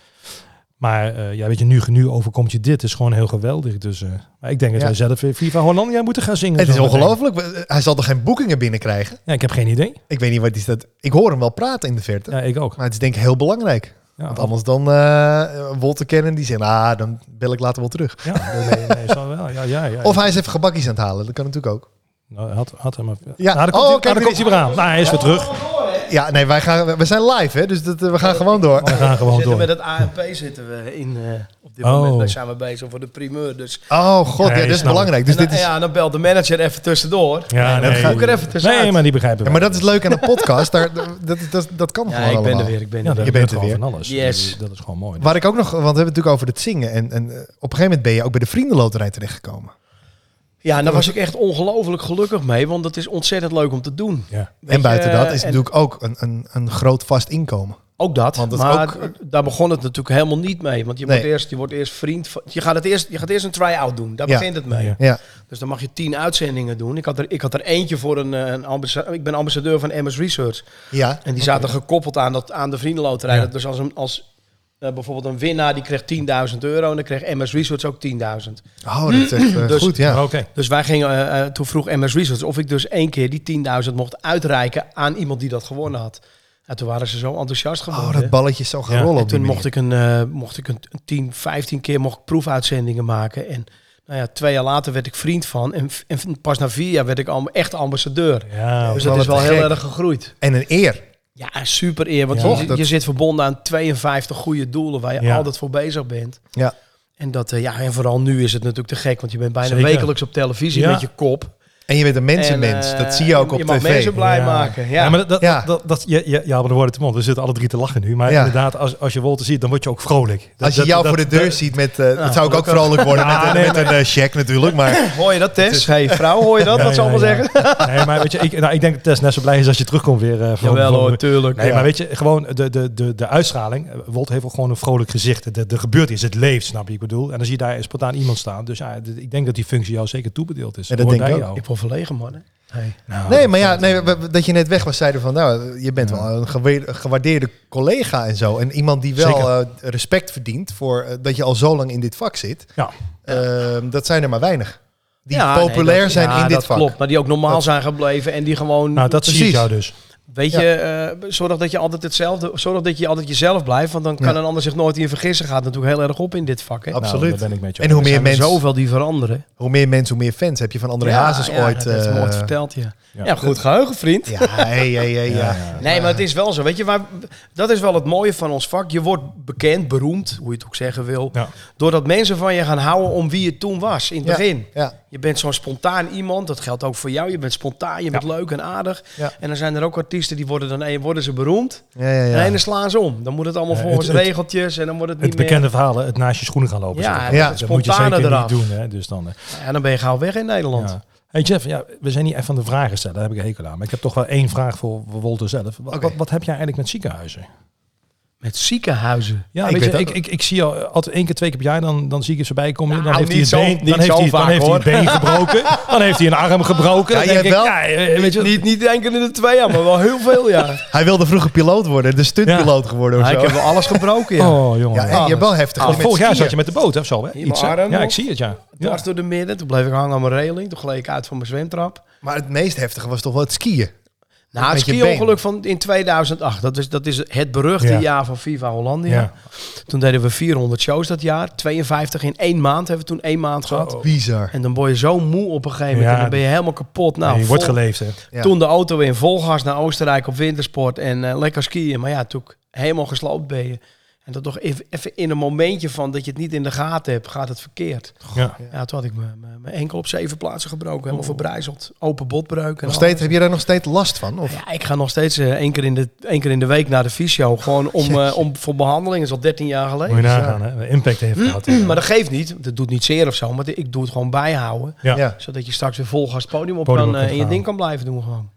Speaker 3: Maar eh, ja, weet je, nu, nu overkomt je dit. Het is gewoon heel geweldig. Dus eh, maar ik denk dat
Speaker 1: Ja.
Speaker 3: wij zelf weer Viva Hollandia moeten gaan zingen.
Speaker 1: Het is
Speaker 3: zo meteen.
Speaker 1: ongelooflijk. We- eh, Hij zal toch geen boekingen binnenkrijgen?
Speaker 3: Ja, ik heb geen idee.
Speaker 1: Ik weet niet wat is dat. Ik hoor hem wel praten in de verte.
Speaker 3: Ja, ik ook.
Speaker 1: Maar het is denk ik heel belangrijk.
Speaker 3: Ja,
Speaker 1: Want anders dan eh Wolter kennen die zegt, ah, dan bel ik later wel terug.
Speaker 3: Ja, nee, nee, nee, zo wel. Ja, ja, ja.
Speaker 1: Of hij is even gebakjes aan het halen. Dat kan natuurlijk ook.
Speaker 3: Nou, had, had hem even.
Speaker 1: Ja.
Speaker 3: Ja,
Speaker 1: Oh,
Speaker 3: daar komt,
Speaker 1: oké,
Speaker 3: hij, daar
Speaker 1: dit
Speaker 3: komt hij weer aan. Nou, hij is weer terug.
Speaker 1: Ja, nee, wij gaan, we zijn live, hè? Dus dat, eh, we gaan gewoon door.
Speaker 3: We gaan
Speaker 4: We
Speaker 3: gewoon
Speaker 4: zitten
Speaker 3: door.
Speaker 4: met het ANP zitten we in. eh, op dit
Speaker 3: Oh.
Speaker 4: moment Wij zijn we bezig voor de primeur. Dus,
Speaker 1: Oh god,
Speaker 3: Nee,
Speaker 1: ja, dat is
Speaker 3: snap ik.
Speaker 1: belangrijk. Dus
Speaker 4: en dan,
Speaker 1: dit is...
Speaker 4: ja, dan belt de manager even tussendoor.
Speaker 3: Ja,
Speaker 1: dat
Speaker 3: nee.
Speaker 1: ga
Speaker 4: ik er even tussenuit.
Speaker 3: Nee, maar die begrijpen
Speaker 1: Ja,
Speaker 3: we.
Speaker 1: maar dat is leuk aan de podcast. Daar, dat, dat, dat kan
Speaker 4: Ja,
Speaker 1: gewoon
Speaker 4: ik ben
Speaker 1: allemaal.
Speaker 4: er weer. Ik ben
Speaker 3: Ja,
Speaker 4: er
Speaker 3: daar
Speaker 1: Je
Speaker 3: je
Speaker 1: bent
Speaker 3: bent
Speaker 1: er
Speaker 3: gewoon
Speaker 1: weer.
Speaker 3: van alles.
Speaker 4: Yes.
Speaker 3: Dus Dat is gewoon mooi.
Speaker 1: Waar ik ook nog, want we hebben het natuurlijk over het zingen. En, en eh, op een gegeven moment ben je ook bij de vriendenloterij terechtgekomen.
Speaker 4: Ja, en daar was ik echt ongelooflijk gelukkig mee, want het is ontzettend leuk om te doen.
Speaker 3: Ja.
Speaker 4: Weet
Speaker 1: En buiten
Speaker 4: je,
Speaker 1: dat is
Speaker 4: en
Speaker 1: natuurlijk ook een, een, een groot vast inkomen.
Speaker 4: ook dat,
Speaker 1: want dat is
Speaker 4: maar
Speaker 1: ook-
Speaker 4: daar begon het natuurlijk helemaal niet mee, want je,
Speaker 1: Nee.
Speaker 4: wordt, eerst, je wordt eerst vriend, van- je gaat, het eerst, je gaat eerst een try-out doen, daar
Speaker 1: Ja.
Speaker 4: begint het mee.
Speaker 3: Ja.
Speaker 1: Ja,
Speaker 4: Dus dan mag je tien uitzendingen doen. Ik had er, ik had er eentje voor een, eh, een ambassa- ik ben ambassadeur van MS Research.
Speaker 1: ja.
Speaker 4: En die zaten gekoppeld aan, dat, aan de vriendenloterij.
Speaker 3: Ja.
Speaker 4: Dat Dus als, een, als eh, bijvoorbeeld een winnaar, die kreeg 10.000 euro. En dan kreeg MS Research ook 10.000.
Speaker 1: Oh, dat is echt eh,
Speaker 4: Dus-
Speaker 1: goed, ja.
Speaker 3: Oké.
Speaker 4: Dus wij gingen, eh, eh, toen vroeg MS Research of ik dus één keer die 10.000 mocht uitreiken aan iemand die dat gewonnen had. En toen waren ze zo enthousiast
Speaker 1: Oh,
Speaker 4: geworden.
Speaker 1: dat balletje is zo gaan
Speaker 3: Ja,
Speaker 1: rollen
Speaker 4: en
Speaker 1: op die
Speaker 4: toen
Speaker 1: manier.
Speaker 4: mocht ik, een, eh, mocht ik een, een 10, 15 keer mocht ik proefuitzendingen maken. En nou ja, twee jaar later werd ik vriend van. En, v- en pas na vier jaar werd ik al echt ambassadeur.
Speaker 3: Ja,
Speaker 4: Dus
Speaker 1: wel
Speaker 4: dat is
Speaker 1: wat
Speaker 4: wel
Speaker 1: te gek.
Speaker 4: heel erg gegroeid.
Speaker 1: En een eer.
Speaker 4: Ja, super eer. Want
Speaker 3: Ja.
Speaker 4: je-
Speaker 1: Toch,
Speaker 4: je,
Speaker 1: dat-
Speaker 4: zit verbonden aan 52 goede doelen waar je
Speaker 3: Ja.
Speaker 4: altijd voor bezig bent.
Speaker 1: Ja.
Speaker 4: En, dat, eh, ja, en vooral nu is het natuurlijk te gek, want je bent bijna
Speaker 3: Zeker.
Speaker 4: wekelijks op televisie
Speaker 3: Ja.
Speaker 4: met je kop.
Speaker 1: En je bent een
Speaker 4: En,
Speaker 1: mensenmens.
Speaker 4: eh,
Speaker 1: dat zie je ook op
Speaker 4: je
Speaker 1: tv.
Speaker 4: mag mensen blij
Speaker 3: Ja.
Speaker 4: maken. Ja.
Speaker 3: Ja, maar dat, dat,
Speaker 1: Ja.
Speaker 3: dat, dat, ja, ja, ja, maar de woorden te mond. We zitten alle drie te lachen nu. Maar
Speaker 1: Ja.
Speaker 3: inderdaad, als, als je Wolter ziet, dan word je ook vrolijk. Dat-
Speaker 1: Als je
Speaker 3: dat-
Speaker 1: jou
Speaker 3: dat-
Speaker 1: voor de deur
Speaker 3: dat-
Speaker 1: ziet met... eh, dat zou ik ook vrolijk worden met, een- met een eh, check natuurlijk. Maar
Speaker 4: Hoor je dat, Tess? Hey, vrouw, hoor je dat?
Speaker 3: Ja,
Speaker 4: wat ze
Speaker 3: ja,
Speaker 4: allemaal
Speaker 3: ja.
Speaker 4: zeggen?
Speaker 3: Nee, maar weet je, ik, nou, ik denk dat Tess net zo blij is als je terugkomt weer. eh, van,
Speaker 4: Jawel
Speaker 3: van-
Speaker 4: hoor, tuurlijk.
Speaker 3: Nee,
Speaker 4: Ja.
Speaker 3: maar weet je, gewoon de, de, de, de uitstraling. Eh, Wolt heeft ook gewoon een vrolijk gezicht. Er- Er gebeurt iets, het leeft, snap je? Ik bedoel, en dan zie je daar spontaan iemand staan. Dus ja, d- ik denk dat die functie jou zeker toebedeeld is.
Speaker 1: Ja, dat
Speaker 3: Hoort
Speaker 1: denk ik
Speaker 3: bij
Speaker 1: ook.
Speaker 4: Ik word verlegen, man. hè. Hey.
Speaker 3: Nou,
Speaker 1: nee, maar ja, nee, we- we- Oh, dat je net weg was, zeiden van... Nou, je bent
Speaker 3: Ja.
Speaker 1: wel een gewe- gewaardeerde collega en zo. En iemand die wel
Speaker 3: Zeker.
Speaker 1: eh, respect verdient voor eh, dat je al zo lang in dit vak zit.
Speaker 3: Ja.
Speaker 1: Ehm, dat zijn er maar weinig. Die
Speaker 4: Ja, nee,
Speaker 1: populair
Speaker 4: dat-
Speaker 1: zijn
Speaker 4: ja,
Speaker 1: in dit
Speaker 4: dat
Speaker 1: vak.
Speaker 4: klopt. Maar die ook normaal
Speaker 1: Dat-
Speaker 4: zijn gebleven en die gewoon...
Speaker 3: nou dat zie ik
Speaker 1: Precies.
Speaker 3: jou dus.
Speaker 4: Weet
Speaker 1: Ja.
Speaker 4: je, eh, zorg dat je altijd hetzelfde, zorg dat je altijd jezelf blijft, want dan kan
Speaker 1: Ja.
Speaker 4: een ander zich nooit in vergissen. Gaat natuurlijk heel erg op in dit vak. Hè?
Speaker 1: Ab-
Speaker 4: Er
Speaker 1: Absoluut.
Speaker 3: Nou, daar ben ik met je
Speaker 1: En
Speaker 3: eens.
Speaker 1: hoe meer
Speaker 4: zijn er
Speaker 1: mensen,
Speaker 4: zoveel die veranderen.
Speaker 1: hoe meer mensen, hoe meer fans heb je van André Hazes
Speaker 4: ja,
Speaker 1: ooit.
Speaker 4: Dat
Speaker 1: eh,
Speaker 4: wordt verteld, ja.
Speaker 3: Ja.
Speaker 4: ja. goed geheugen, vriend.
Speaker 1: Ja, hey, hey, hey, ja.
Speaker 3: Ja, ja.
Speaker 4: Nee, maar het is wel zo. Weet je, waar, dat is wel het mooie van ons vak. Je wordt bekend, beroemd, hoe je het ook zeggen wil.
Speaker 3: Ja.
Speaker 4: Doordat mensen van je gaan houden om wie je toen was in het
Speaker 1: Ja.
Speaker 4: begin.
Speaker 1: Ja.
Speaker 4: Je bent zo'n spontaan iemand. Dat geldt ook voor jou. Je bent spontaan, je bent leuk en aardig.
Speaker 1: Ja.
Speaker 4: En dan zijn er ook artiesten die worden dan eh, worden ze beroemd.
Speaker 1: Ja, ja, ja.
Speaker 4: En dan slaan ze om. Dan moet het allemaal
Speaker 3: Ja,
Speaker 4: volgens
Speaker 3: het- het-
Speaker 4: regeltjes en dan wordt het niet
Speaker 3: Het bekende verhaal, hè, het naast je schoenen gaan lopen.
Speaker 4: meer. Ja,
Speaker 3: zeg.
Speaker 4: en
Speaker 1: Ja.
Speaker 4: dat
Speaker 3: dat moet je
Speaker 4: spontane
Speaker 3: zeker
Speaker 4: eraf.
Speaker 3: niet doen. Hè? Dus dan, eh,
Speaker 4: En dan ben je gauw weg in Nederland.
Speaker 3: ja. Hey Jeff, ja, we zijn niet echt van de vragen stellen, daar heb ik een hekel aan. Maar ik heb toch wel één vraag voor voor Wolter zelf. Wat,
Speaker 1: Oké.
Speaker 3: wat, wat heb jij eigenlijk met ziekenhuizen?
Speaker 4: Met ziekenhuizen.
Speaker 3: Ja,
Speaker 1: Ik
Speaker 3: ik, weet
Speaker 1: weet
Speaker 3: je,
Speaker 1: dat-
Speaker 3: ik, ik, ik zie al altijd één keer, twee keer per jaar, dan, dan zie ik ze voorbij komen.
Speaker 4: Nou,
Speaker 3: dan heeft hij
Speaker 4: niet
Speaker 3: het
Speaker 4: zo-
Speaker 3: been,
Speaker 4: niet
Speaker 3: dan heeft
Speaker 4: zo
Speaker 3: hij, dan
Speaker 4: vaak,
Speaker 3: heeft hij het
Speaker 4: hoor.
Speaker 3: been gebroken, dan heeft hij een arm gebroken.
Speaker 1: Ja,
Speaker 3: Dan
Speaker 1: je hebt
Speaker 3: denk ik,
Speaker 1: wel-
Speaker 3: ja, eh, weet je,
Speaker 4: Niet, niet enkele de twee jaar, maar wel heel veel jaar.
Speaker 1: Hij wilde vroeger piloot worden, de stuntpiloot geworden of
Speaker 4: Ja, ik
Speaker 1: zo.
Speaker 4: heb wel alles gebroken, ja.
Speaker 3: Oh jongen.
Speaker 1: Ja, en je hebt wel heftig.
Speaker 3: Want
Speaker 1: met
Speaker 3: Ah, vorig jaar
Speaker 1: skiën.
Speaker 3: zat je met de boot hè, of zo, hè?
Speaker 4: Hier,
Speaker 3: Iets,
Speaker 4: mijn
Speaker 3: hè?
Speaker 4: arm
Speaker 3: Ja,
Speaker 4: nog.
Speaker 3: ik zie het, ja. ja.
Speaker 4: dwars door de midden. Toen bleef ik hangen aan mijn railing. Toen gleed ik uit van mijn zwemtrap.
Speaker 1: Maar het meest heftige was toch wel het skiën.
Speaker 4: Nou,
Speaker 1: Met
Speaker 4: het
Speaker 1: je been.
Speaker 4: ski-ongeluk van in 2008. Dat is, dat is het beruchte
Speaker 3: Ja.
Speaker 4: jaar van Viva Hollandia.
Speaker 3: Ja.
Speaker 4: Toen deden we 400 shows dat jaar. 52 in één maand hebben we toen één maand
Speaker 1: Oh.
Speaker 4: gehad.
Speaker 1: Bizar.
Speaker 4: En dan word je zo moe op een gegeven moment.
Speaker 3: Ja.
Speaker 4: En dan ben je helemaal kapot. Nou,
Speaker 3: Nee, je wordt
Speaker 4: vol-
Speaker 3: geleefd, hè?
Speaker 1: Ja.
Speaker 4: Toen de auto in volgas naar Oostenrijk op wintersport. En eh, lekker skiën. Maar ja, toen ik helemaal gesloopt ben je. En dat toch even, even in een momentje van dat je het niet in de gaten hebt, gaat het verkeerd.
Speaker 3: Ja.
Speaker 4: Ja, toen had ik mijn- mijn mijn enkel op zeven plaatsen gebroken. Helemaal verbrijzeld. Open botbreuk. en
Speaker 1: Nog
Speaker 4: alles.
Speaker 1: steeds, heb je daar nog steeds last van? Of?
Speaker 4: Ja, ik ga nog steeds eh, één, keer in de, één keer in de week naar de fysio. Gewoon om, eh, om, voor behandeling. Dat is al 13 jaar
Speaker 3: Moet je
Speaker 4: geleden.
Speaker 3: nagaan, hè? De impact
Speaker 1: Mm,
Speaker 3: heeft gehad. hè.
Speaker 4: Maar dat geeft niet. Dat doet niet zeer of zo. Maar ik doe het gewoon bijhouden.
Speaker 3: Ja.
Speaker 1: Ja.
Speaker 4: Zodat je straks weer vol gas het podium op
Speaker 3: Podium op
Speaker 4: kan eh,
Speaker 3: kunt
Speaker 4: en je
Speaker 3: gaan.
Speaker 4: ding kan blijven doen gewoon.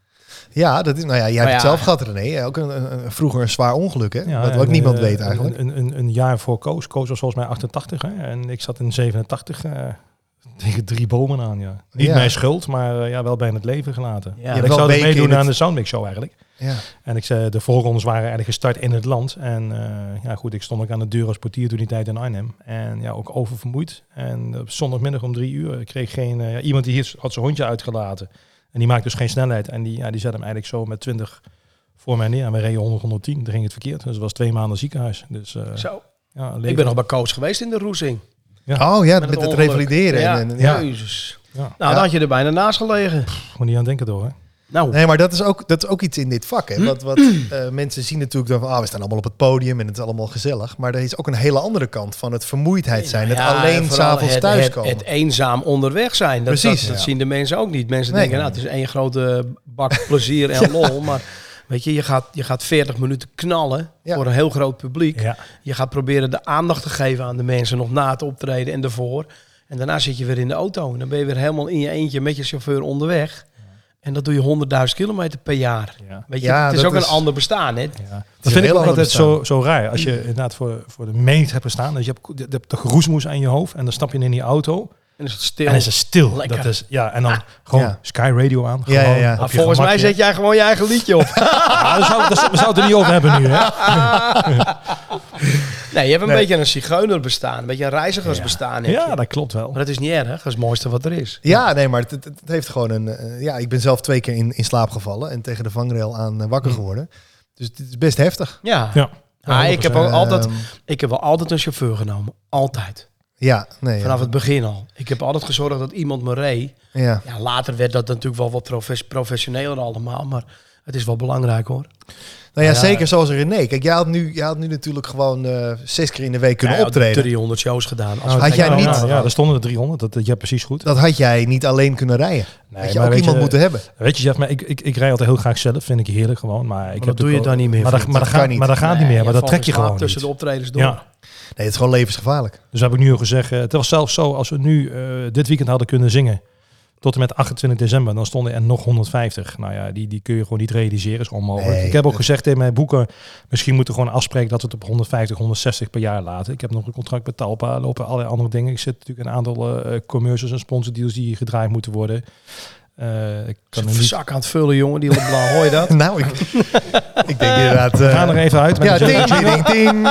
Speaker 1: Ja, dat is, nou ja, jij hebt
Speaker 4: ja.
Speaker 1: het zelf gehad, René. Ook een, een- een- vroeger een zwaar ongeluk, hè?
Speaker 3: Ja,
Speaker 1: wat
Speaker 3: en,
Speaker 1: wat niemand
Speaker 3: eh,
Speaker 1: weet eigenlijk.
Speaker 3: Een, een, een jaar voor Koos. Koos was volgens mij 88 hè? en ik zat in 87 eh, tegen drie bomen aan. Ja. Niet
Speaker 1: Ja.
Speaker 3: mijn schuld, maar eh, ja, wel bijna het leven gelaten.
Speaker 4: Ja.
Speaker 3: En
Speaker 4: Je
Speaker 1: hebt
Speaker 3: ik
Speaker 1: wel
Speaker 3: zou
Speaker 1: weken
Speaker 3: meedoen
Speaker 1: in
Speaker 3: aan
Speaker 1: het-
Speaker 3: de Soundmix Show eigenlijk.
Speaker 1: Ja.
Speaker 3: En ik, zei, de voorrondes waren eigenlijk gestart in het land. En eh, ja, goed, ik stond ook aan de deur als portier toen die tijd in Arnhem. En ja, ook oververmoeid. En op zondagmiddag om drie uur ik kreeg geen... eh, ja, iemand die hier had zijn hondje uitgelaten. En die maakte dus geen snelheid. En die, ja, die zette hem eigenlijk zo met 20 voor mij neer. En we reden 100, 110. Toen ging het verkeerd. Dus het was twee maanden ziekenhuis. Dus eh,
Speaker 4: Zo.
Speaker 3: ja,
Speaker 4: Ik
Speaker 3: leven.
Speaker 4: ben nog bij coach geweest in de roezing.
Speaker 1: Oh ja, met,
Speaker 4: het
Speaker 1: het
Speaker 4: ongeluk.
Speaker 1: revalideren.
Speaker 4: Ja.
Speaker 1: En, en- ja.
Speaker 4: Jezus.
Speaker 3: Ja.
Speaker 4: Nou, dan
Speaker 1: Ja.
Speaker 4: had je er bijna naast gelegen.
Speaker 3: Gewoon niet aan denken door, hè?
Speaker 4: Nou,
Speaker 1: Nee, maar dat is ook, dat is ook iets in dit vak.
Speaker 4: Hm?
Speaker 1: Hè? Wat, wat, eh, mensen zien natuurlijk dan van, ah, we staan allemaal op het podium en het is allemaal gezellig. Maar er is ook een hele andere kant van het vermoeidheid zijn. Het
Speaker 4: Ja, en
Speaker 1: alleen
Speaker 4: vooral
Speaker 1: s'avonds
Speaker 4: het-
Speaker 1: thuiskomen.
Speaker 4: Het, het eenzaam onderweg zijn. Dat,
Speaker 1: Precies.
Speaker 4: dat, dat
Speaker 1: Ja.
Speaker 4: zien de mensen ook niet. Mensen
Speaker 1: Nee.
Speaker 4: denken, nou, het is één grote bak plezier en lol. Maar weet je, je gaat, je gaat 40 minuten knallen
Speaker 1: Ja.
Speaker 4: voor een heel groot publiek.
Speaker 3: Ja.
Speaker 4: Je gaat proberen de aandacht te geven aan de mensen nog na het optreden en daarvoor. En daarna zit je weer in de auto. En dan ben je weer helemaal in je eentje met je chauffeur onderweg. En dat doe je 100.000 kilometer per jaar.
Speaker 3: Ja.
Speaker 4: Weet je,
Speaker 1: Ja,
Speaker 4: het is
Speaker 1: dat
Speaker 4: ook een
Speaker 1: is-
Speaker 4: ander bestaan. Hè?
Speaker 3: Dat
Speaker 1: heel
Speaker 3: vind ik ook
Speaker 1: ander
Speaker 3: altijd zo,
Speaker 1: bestaan.
Speaker 3: zo raar. Als je inderdaad voor, voor de meet hebt gestaan, dus je hebt, je hebt de geroesmoes aan je hoofd en dan stap je in die auto
Speaker 4: En is het stil.
Speaker 3: en is het stil.
Speaker 4: Lekker.
Speaker 3: Dat is, ja, en dan gewoon
Speaker 1: Ja.
Speaker 3: Sky Radio aan.
Speaker 1: Ja, Ah, ja,
Speaker 3: gewoon
Speaker 1: ja.
Speaker 3: op
Speaker 4: Maar
Speaker 3: je
Speaker 4: volgens mij
Speaker 3: gemakje.
Speaker 4: zet jij gewoon je eigen liedje op.
Speaker 3: Ja, daar zou, daar zou- daar zou het er niet over hebben nu, hè?
Speaker 4: Ah, Nee, je hebt een
Speaker 1: Nee.
Speaker 4: beetje een zigeuner bestaan, een beetje een reizigersbestaan. heb je.
Speaker 3: Ja, dat klopt wel.
Speaker 4: Maar dat is niet erg, dat is het mooiste wat er is.
Speaker 1: Ja, nee, maar het, het- het heeft gewoon een. eh, ja, ik ben zelf twee keer in, in slaap gevallen en tegen de vangrail aan eh,
Speaker 4: Hm.
Speaker 1: wakker geworden. Dus het is best heftig.
Speaker 4: Ja.
Speaker 3: Ja.
Speaker 4: Ah, ik, heb
Speaker 3: 100%.
Speaker 4: ook altijd,
Speaker 1: Ehm,
Speaker 4: ik heb wel altijd een chauffeur genomen. Altijd.
Speaker 1: ja, nee.
Speaker 4: Vanaf
Speaker 1: ja.
Speaker 4: het begin al. Ik heb altijd gezorgd dat iemand me reed.
Speaker 1: Ja.
Speaker 4: Ja, later werd dat natuurlijk wel wat profes- professioneler allemaal. Maar het is wel belangrijk hoor.
Speaker 1: Nou ja,
Speaker 3: Ja.
Speaker 1: zeker zoals René. Kijk, jij had nu, jij had nu natuurlijk gewoon eh, zes keer in de week kunnen
Speaker 4: Nou Ja,
Speaker 1: optreden.
Speaker 4: 300 shows gedaan. Als
Speaker 3: Nou,
Speaker 1: Had jij
Speaker 3: nou,
Speaker 1: niet-
Speaker 3: nou, ja, daar stonden er 300. Dat, dat je hebt precies goed.
Speaker 1: Dat had jij niet alleen kunnen rijden.
Speaker 3: Nee,
Speaker 1: had je
Speaker 3: maar
Speaker 1: ook
Speaker 3: weet
Speaker 1: iemand
Speaker 3: je,
Speaker 1: moeten hebben.
Speaker 3: Weet je, Jeff, maar ik, ik, ik rij altijd heel graag zelf. Vind ik heerlijk gewoon. Maar, ik heb
Speaker 4: dat doe je
Speaker 3: natuurlijk
Speaker 4: dan
Speaker 3: wel-
Speaker 4: niet meer,
Speaker 3: Maar dat,
Speaker 4: vriend.
Speaker 3: maar dat,
Speaker 1: Dat kan
Speaker 3: gaat,
Speaker 1: niet.
Speaker 3: maar dat gaat niet meer. Maar dat trek je gewoon
Speaker 4: tussen de
Speaker 3: niet.
Speaker 4: optredens door.
Speaker 3: Ja.
Speaker 1: Nee, het is gewoon levensgevaarlijk.
Speaker 3: Dus dat heb ik nu al gezegd. Eh, Het was zelfs zo, als we nu eh, dit weekend hadden kunnen zingen, tot en met 28 december, dan stonden er nog 150. Nou ja, die, die kun je gewoon niet realiseren, is onmogelijk.
Speaker 1: Nee,
Speaker 3: ik heb ook
Speaker 1: dat-
Speaker 3: gezegd in mijn boeken, misschien moeten we gewoon afspreken dat we het op 150, 160 per jaar laten. Ik heb nog een contract met Talpa, lopen allerlei andere dingen. Ik zit natuurlijk een aantal eh, commercials en sponsordeals die gedraaid moeten worden. Eh, ik kan
Speaker 4: Kan
Speaker 3: er niet...
Speaker 4: zak aan het vullen, jongen. Die LeBlanc, hoor je dat?
Speaker 1: Nou, ik, ik denk inderdaad... eh,
Speaker 3: We gaan er even uit. Met
Speaker 1: ja,
Speaker 3: de-
Speaker 1: ding, ding, ding, ding.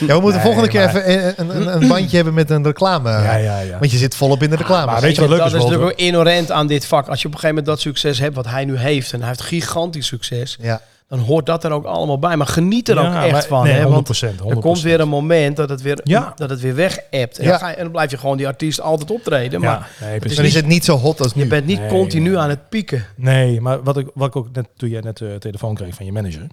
Speaker 1: Ja, we moeten
Speaker 3: Nee,
Speaker 1: volgende keer
Speaker 3: maar-
Speaker 1: even eh, een, een, een bandje hebben met een reclame.
Speaker 3: Ja, ja, ja.
Speaker 1: Want je zit volop in de reclame.
Speaker 3: maar weet je wat leuk
Speaker 4: dat
Speaker 3: is,
Speaker 4: is natuurlijk
Speaker 3: Walter?
Speaker 4: ook inherent aan dit vak. Als je op een gegeven moment dat succes hebt wat hij nu heeft... en hij heeft gigantisch succes...
Speaker 1: ja.
Speaker 4: dan hoort dat er ook allemaal bij. Maar geniet er ook
Speaker 3: Ja,
Speaker 4: echt
Speaker 3: maar-
Speaker 4: van.
Speaker 3: nee,
Speaker 4: hè, want
Speaker 3: 100%,
Speaker 4: er
Speaker 3: 100%.
Speaker 4: komt weer een moment dat het weer,
Speaker 3: Ja.
Speaker 4: dat het weer weg ebt. En,
Speaker 1: Ja.
Speaker 4: dan ga je- en dan blijf je gewoon die artiest altijd optreden.
Speaker 3: Ja,
Speaker 4: Maar
Speaker 3: nee,
Speaker 1: Dan is
Speaker 3: precies.
Speaker 1: het niet zo hot als nu.
Speaker 4: je bent niet
Speaker 3: Nee,
Speaker 4: continu
Speaker 3: nee.
Speaker 4: aan het pieken.
Speaker 3: Nee, maar wat ik, wat ik ook net, toen jij net de telefoon kreeg van je manager.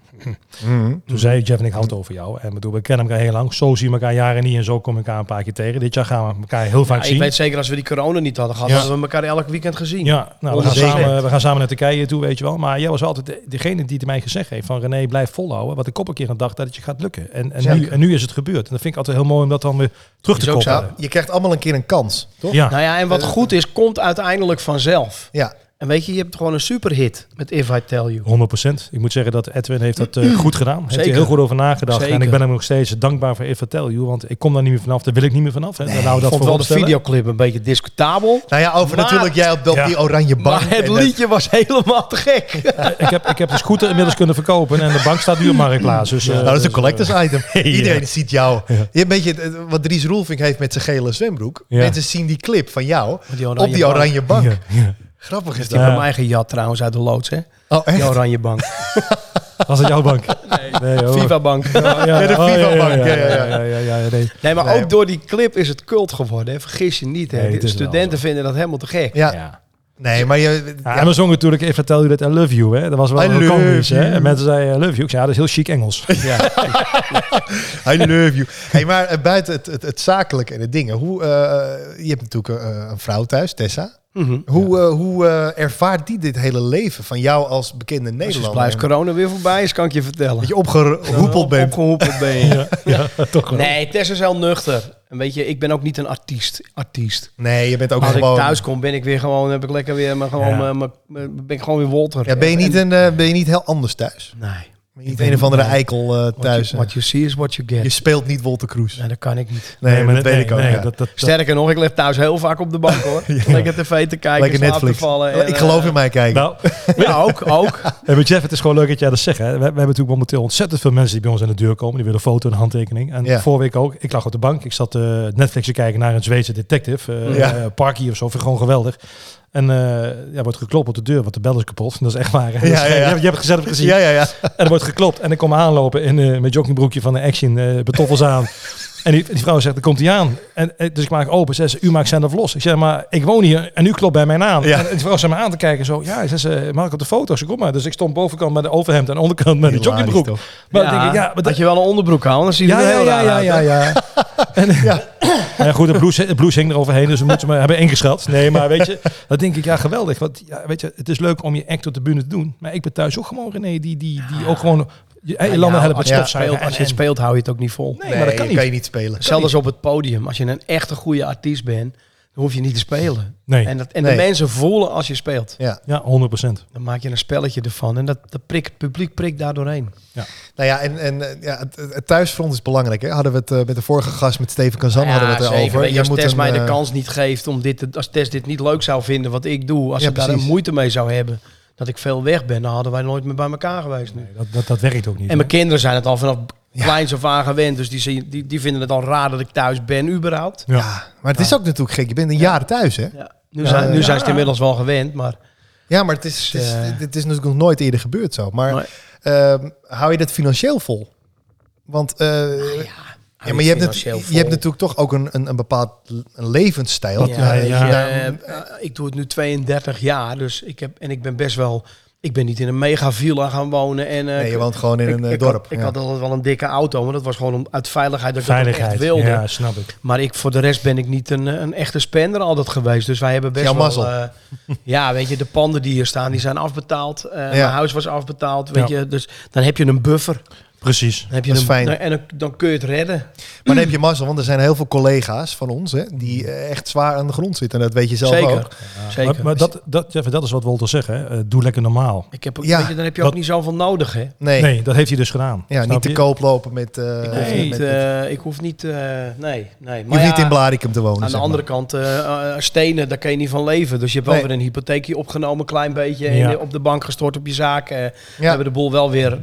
Speaker 1: Mhm.
Speaker 3: Toen zei Jeff en ik houden over jou. En bedoel, we kennen elkaar heel lang. Zo zien we elkaar jaren niet en zo komen we elkaar een paar keer tegen. Dit jaar gaan we elkaar heel vaak
Speaker 4: Ja, ik
Speaker 3: zien.
Speaker 4: weet zeker, als we die corona niet hadden gehad...
Speaker 1: Ja.
Speaker 4: hadden we elkaar elk weekend gezien.
Speaker 3: Ja, nou, we, gaan
Speaker 1: Onderzeker.
Speaker 3: samen, we gaan samen naar Turkije toe, weet je wel. Maar jij was altijd de- degene die het mij gezegd heeft van René, blijf volhouden. Wat ik op een keer een dag dat het je gaat lukken. En, en, nu,
Speaker 1: Zeker.
Speaker 3: en nu is het gebeurd. En dat vind ik altijd heel mooi om dat dan weer terug te
Speaker 4: Is ook zo.
Speaker 3: koppelen.
Speaker 1: Ja, je krijgt allemaal een keer een kans, toch?
Speaker 3: Ja,
Speaker 4: Nou ja, en wat goed is, komt uiteindelijk vanzelf.
Speaker 1: Ja.
Speaker 4: En weet je, je hebt gewoon een superhit met If I Tell You.
Speaker 3: 100%. Ik moet zeggen dat Edwin heeft dat eh, goed gedaan. Heeft er
Speaker 4: Zeker.
Speaker 3: heel goed over nagedacht. En ik
Speaker 4: Zeker.
Speaker 3: ben hem nog steeds dankbaar voor If I Tell You. Want ik kom daar niet meer vanaf. Daar wil ik niet meer vanaf. Hè. Daar houden
Speaker 4: Ik
Speaker 3: we Nou, dat
Speaker 4: vond wel de
Speaker 3: vooropstellen.
Speaker 4: videoclip een beetje discutabel.
Speaker 1: Nou ja, over
Speaker 4: Maar-
Speaker 1: natuurlijk jij op, op
Speaker 3: Ja.
Speaker 1: die oranje bank.
Speaker 4: Maar het
Speaker 1: en dat-
Speaker 4: liedje was helemaal te gek.
Speaker 3: Ik heb, ik heb de scooter inmiddels kunnen verkopen. En de bank staat nu op Marktplaats. Dus, eh,
Speaker 1: nou, dat is
Speaker 3: dus,
Speaker 1: een collectors item. Iedereen ziet jou.
Speaker 3: Ja.
Speaker 1: Je Een beetje het- wat Dries Roelvink heeft met zijn gele zwembroek.
Speaker 3: Ja.
Speaker 1: Mensen zien die clip van jou
Speaker 4: die oranje
Speaker 1: op die
Speaker 4: bank.
Speaker 1: oranje bank.
Speaker 3: Ja, ja.
Speaker 1: Grappig is
Speaker 4: Die
Speaker 1: dat.
Speaker 4: heb mijn eigen jat trouwens uit de loods, hè?
Speaker 1: Oh, echt?
Speaker 4: Die oranje bank. Oh.
Speaker 3: Was het jouw bank? Nee, hoor.
Speaker 4: FIFA bank.
Speaker 3: Ja, ja,
Speaker 1: Ja, de
Speaker 3: oh,
Speaker 1: FIFA-bank. Ja, ja, ja.
Speaker 3: ja, ja, ja, ja, nee.
Speaker 4: Nee, maar
Speaker 1: Nee.
Speaker 4: ook door die clip is het cult geworden. Hè? Vergis je niet. Hè?
Speaker 3: Nee, het
Speaker 4: De
Speaker 3: is wel
Speaker 4: studenten vinden dat helemaal te gek.
Speaker 1: Ja.
Speaker 3: Ja.
Speaker 1: Nee, maar je...
Speaker 3: Ja,
Speaker 1: ja.
Speaker 3: en dan zong natuurlijk If I Tell You That I Love You. Hè. Dat was wel
Speaker 1: I
Speaker 3: een
Speaker 1: love
Speaker 3: comedy.
Speaker 1: you.
Speaker 3: hè. En mensen zeiden I Love You. Ik zei, ja, dat is heel chic Engels.
Speaker 1: I love you. Hey, maar eh, buiten het, het, het zakelijke en de dingen. Hoe, eh, je hebt natuurlijk eh, een vrouw thuis, Tessa.
Speaker 4: Mhm.
Speaker 1: Hoe, eh, hoe eh, ervaart die dit hele leven van jou als bekende
Speaker 4: Dus
Speaker 1: Nederlander?
Speaker 4: blijft corona weer voorbij is, kan ik je vertellen. Eh,
Speaker 1: Dat je opgeroepeld bent.
Speaker 4: Opgehoepeld ben je.
Speaker 3: Toch wel.
Speaker 4: Nee, Tess is heel nuchter. En weet je, ik ben ook niet een artiest. artiest.
Speaker 1: Nee, je bent ook
Speaker 4: Als
Speaker 1: gewoon...
Speaker 4: ik thuis kom, ben ik weer gewoon, heb ik lekker weer, maar gewoon,
Speaker 3: Ja.
Speaker 4: eh, mijn- mijn- ben ik gewoon weer Walter.
Speaker 1: Ja, ben, je niet
Speaker 4: En-
Speaker 1: een, eh, ben je niet heel anders thuis?
Speaker 4: Nee.
Speaker 1: Ben je niet een of andere eikel eh, thuis?
Speaker 4: What you see is what you
Speaker 1: Je
Speaker 4: get.
Speaker 1: speelt niet Wolter Kroes.
Speaker 4: Nee, dat kan ik niet.
Speaker 1: Nee, maar
Speaker 3: maar
Speaker 1: dat weet ik ook.
Speaker 3: nee,
Speaker 1: ja.
Speaker 3: dat- dat- dat-
Speaker 4: Sterker nog, ik lig thuis heel vaak op de bank hoor. Lekker tv te kijken,
Speaker 1: Lekker
Speaker 4: slaap
Speaker 1: Netflix.
Speaker 4: te vallen. en,
Speaker 1: ik geloof in mij kijken.
Speaker 3: Nou,
Speaker 4: eh, Ja, ook, ook.
Speaker 3: Hey, maar Jeff, het is gewoon leuk dat jij dat zegt. Hè. We, we hebben natuurlijk momenteel ontzettend veel mensen die bij ons aan de deur komen. Die willen een foto en een handtekening. En
Speaker 1: Ja.
Speaker 3: vorige week ook. Ik lag op de bank. Ik zat eh, Netflix te kijken naar een Zweedse detective. eh
Speaker 1: Ja.
Speaker 3: eh, Parky of zo. Vind ik gewoon geweldig. En eh ja, wordt geklopt op de deur, want de bel is kapot. En dat is echt waar. hè. Dus,
Speaker 1: Ja, ja, ja.
Speaker 3: Je, hebt, je hebt het gezellig gezien.
Speaker 1: ja, ja, ja.
Speaker 3: En er wordt geklopt. En ik kom aanlopen in eh, mijn joggingbroekje van de Action, eh betoffels aan. En die, die vrouw zegt, er komt hij aan. En, eh, dus ik maak open. Ze zegt, u maakt zijn of los. Ik zeg, maar ik woon hier en u klopt bij mij aan.
Speaker 1: Ja.
Speaker 3: En die vrouw zat me aan te kijken. Zo, ja, ze zegt, mag ik op de foto? Ik zeg, kom maar. Dus ik stond bovenkant met de overhemd en onderkant met de
Speaker 1: Hilarisch,
Speaker 3: joggingbroek.
Speaker 1: toch?
Speaker 3: Maar dan denk ik, ja, maar
Speaker 4: dat je wel een onderbroek aan, dan zie je
Speaker 3: ja,
Speaker 4: er
Speaker 3: ja,
Speaker 4: heel
Speaker 3: ja,
Speaker 4: raar
Speaker 3: ja,
Speaker 4: uit,
Speaker 3: ja,
Speaker 4: hè?
Speaker 3: ja. En, eh, ja. goed, de blouse, de blouse hing er overheen, dus we moeten me hebben ingeschat. Nee, maar weet je, dat denk ik, ja, geweldig. Want ja, weet je, het is leuk om je act op de bühne te doen. Maar ik ben thuis ook gewoon, René, die, die, die ook gewoon... Je, hey,
Speaker 4: Ja,
Speaker 3: landen helpen met
Speaker 4: als je het
Speaker 3: stofzuigen
Speaker 4: speelt, als je
Speaker 3: en-
Speaker 4: het speelt, hou je het ook niet vol.
Speaker 3: Nee, maar dat kan niet.
Speaker 1: kan je niet spelen.
Speaker 4: Zelfs als op het podium. Als je een echte goede artiest bent, dan hoef je niet te spelen.
Speaker 3: Nee.
Speaker 4: En, dat, en
Speaker 1: Nee.
Speaker 4: de mensen voelen als je speelt.
Speaker 1: Ja.
Speaker 3: Ja, 100 procent.
Speaker 4: Dan maak je een spelletje ervan. En dat, dat prik, het publiek prikt daar doorheen.
Speaker 1: Nou ja, en, en eh, ja, het, het thuisfront is belangrijk. Hè? Hadden we het eh, met de vorige gast, met Steven Kazan,
Speaker 4: Ja,
Speaker 1: hadden we het
Speaker 4: zeker.
Speaker 1: erover.
Speaker 4: Weet je,
Speaker 1: Jij
Speaker 4: als Tess
Speaker 1: een,
Speaker 4: mij de
Speaker 1: eh,
Speaker 4: kans niet geeft om dit, te- als Tess dit niet leuk zou vinden wat ik doe, als
Speaker 1: Ja,
Speaker 4: ze daar
Speaker 1: precies.
Speaker 4: een moeite mee zou hebben, dat ik veel weg ben, dan hadden wij nooit meer bij elkaar geweest nu.
Speaker 3: Dat, dat, dat werkt ook niet.
Speaker 4: En
Speaker 3: hè?
Speaker 4: mijn kinderen zijn het al vanaf kleins af aan gewend, dus die, zien- die, die vinden het al raar dat ik thuis ben überhaupt.
Speaker 3: ja.
Speaker 1: Ja, maar het is ook natuurlijk gek. Je bent een jaar thuis, hè?
Speaker 4: Ja. Nu,
Speaker 1: Ja,
Speaker 4: zijn, nu
Speaker 1: ja.
Speaker 4: zijn ze het inmiddels wel gewend, maar
Speaker 1: Ja, maar het is, het is,
Speaker 4: eh,
Speaker 1: het is natuurlijk nog nooit eerder gebeurd zo. Maar
Speaker 4: Nee.
Speaker 1: ehm, hou je dat financieel vol? Want eh, ja, maar je hebt, nat-
Speaker 4: financieel
Speaker 1: je hebt
Speaker 4: vol.
Speaker 1: natuurlijk toch ook een, een, een bepaald le- een levensstijl.
Speaker 3: Wat- ja,
Speaker 1: weet je,
Speaker 3: ja.
Speaker 1: daar-
Speaker 4: Eh, eh, ik doe het nu 32 jaar, dus ik heb en ik ben best wel. Ik ben niet in een mega villa gaan wonen en. eh,
Speaker 1: nee, je
Speaker 4: ik-
Speaker 1: woont gewoon in
Speaker 4: ik-
Speaker 1: een eh,
Speaker 4: ik
Speaker 1: dorp.
Speaker 4: Had, ik
Speaker 1: ja.
Speaker 4: had altijd wel een dikke auto, maar dat was gewoon om, uit veiligheid dat ik dat
Speaker 3: Veiligheid.
Speaker 4: ook echt wilde.
Speaker 3: Ja, snap ik.
Speaker 4: Maar ik, voor de rest ben ik niet een, eh, een echte spender altijd geweest. Dus wij hebben best
Speaker 1: Jouw
Speaker 4: wel...
Speaker 1: mazzel.
Speaker 4: eh, ja, weet je, de panden die hier staan, die zijn afbetaald. Eh, Mijn huis was afbetaald, weet
Speaker 3: Ja.
Speaker 4: je. Dus dan heb je een buffer.
Speaker 3: Precies.
Speaker 4: Dan heb je
Speaker 1: Dat is
Speaker 4: een,
Speaker 1: fijn.
Speaker 4: dan- En dan, dan kun je het redden.
Speaker 1: Maar dan heb je mazzel, want er zijn heel veel collega's van ons hè, die eh, echt zwaar aan de grond zitten. En dat weet je zelf
Speaker 4: Zeker.
Speaker 1: ook.
Speaker 4: Zeker.
Speaker 3: Maar, maar dat, dat, Jeff, dat is wat Wolter zegt. Hè. Eh, doe lekker normaal.
Speaker 4: ik heb ook,
Speaker 1: Ja.
Speaker 4: weet je, dan heb je
Speaker 3: Dat-
Speaker 4: ook niet zoveel nodig, hè.
Speaker 1: Nee,
Speaker 3: Nee. dat heeft hij dus gedaan.
Speaker 1: ja,
Speaker 3: Snap
Speaker 1: niet te
Speaker 3: je?
Speaker 1: koop lopen met... eh,
Speaker 4: Ik hoef
Speaker 1: met-
Speaker 4: niet...
Speaker 1: met-
Speaker 4: eh, ik hoef niet eh, nee, nee.
Speaker 1: je hoeft niet
Speaker 4: ja,
Speaker 1: in Blarikum te wonen.
Speaker 4: Aan de
Speaker 1: zeg maar.
Speaker 4: andere kant, eh, eh, stenen, daar kan je niet van leven. Dus je hebt wel
Speaker 1: Nee.
Speaker 4: weer een hypotheekje opgenomen, een klein beetje.
Speaker 3: Ja.
Speaker 4: En eh, op de bank gestort op je zaak. eh,
Speaker 1: Ja.
Speaker 4: hebben de boel wel weer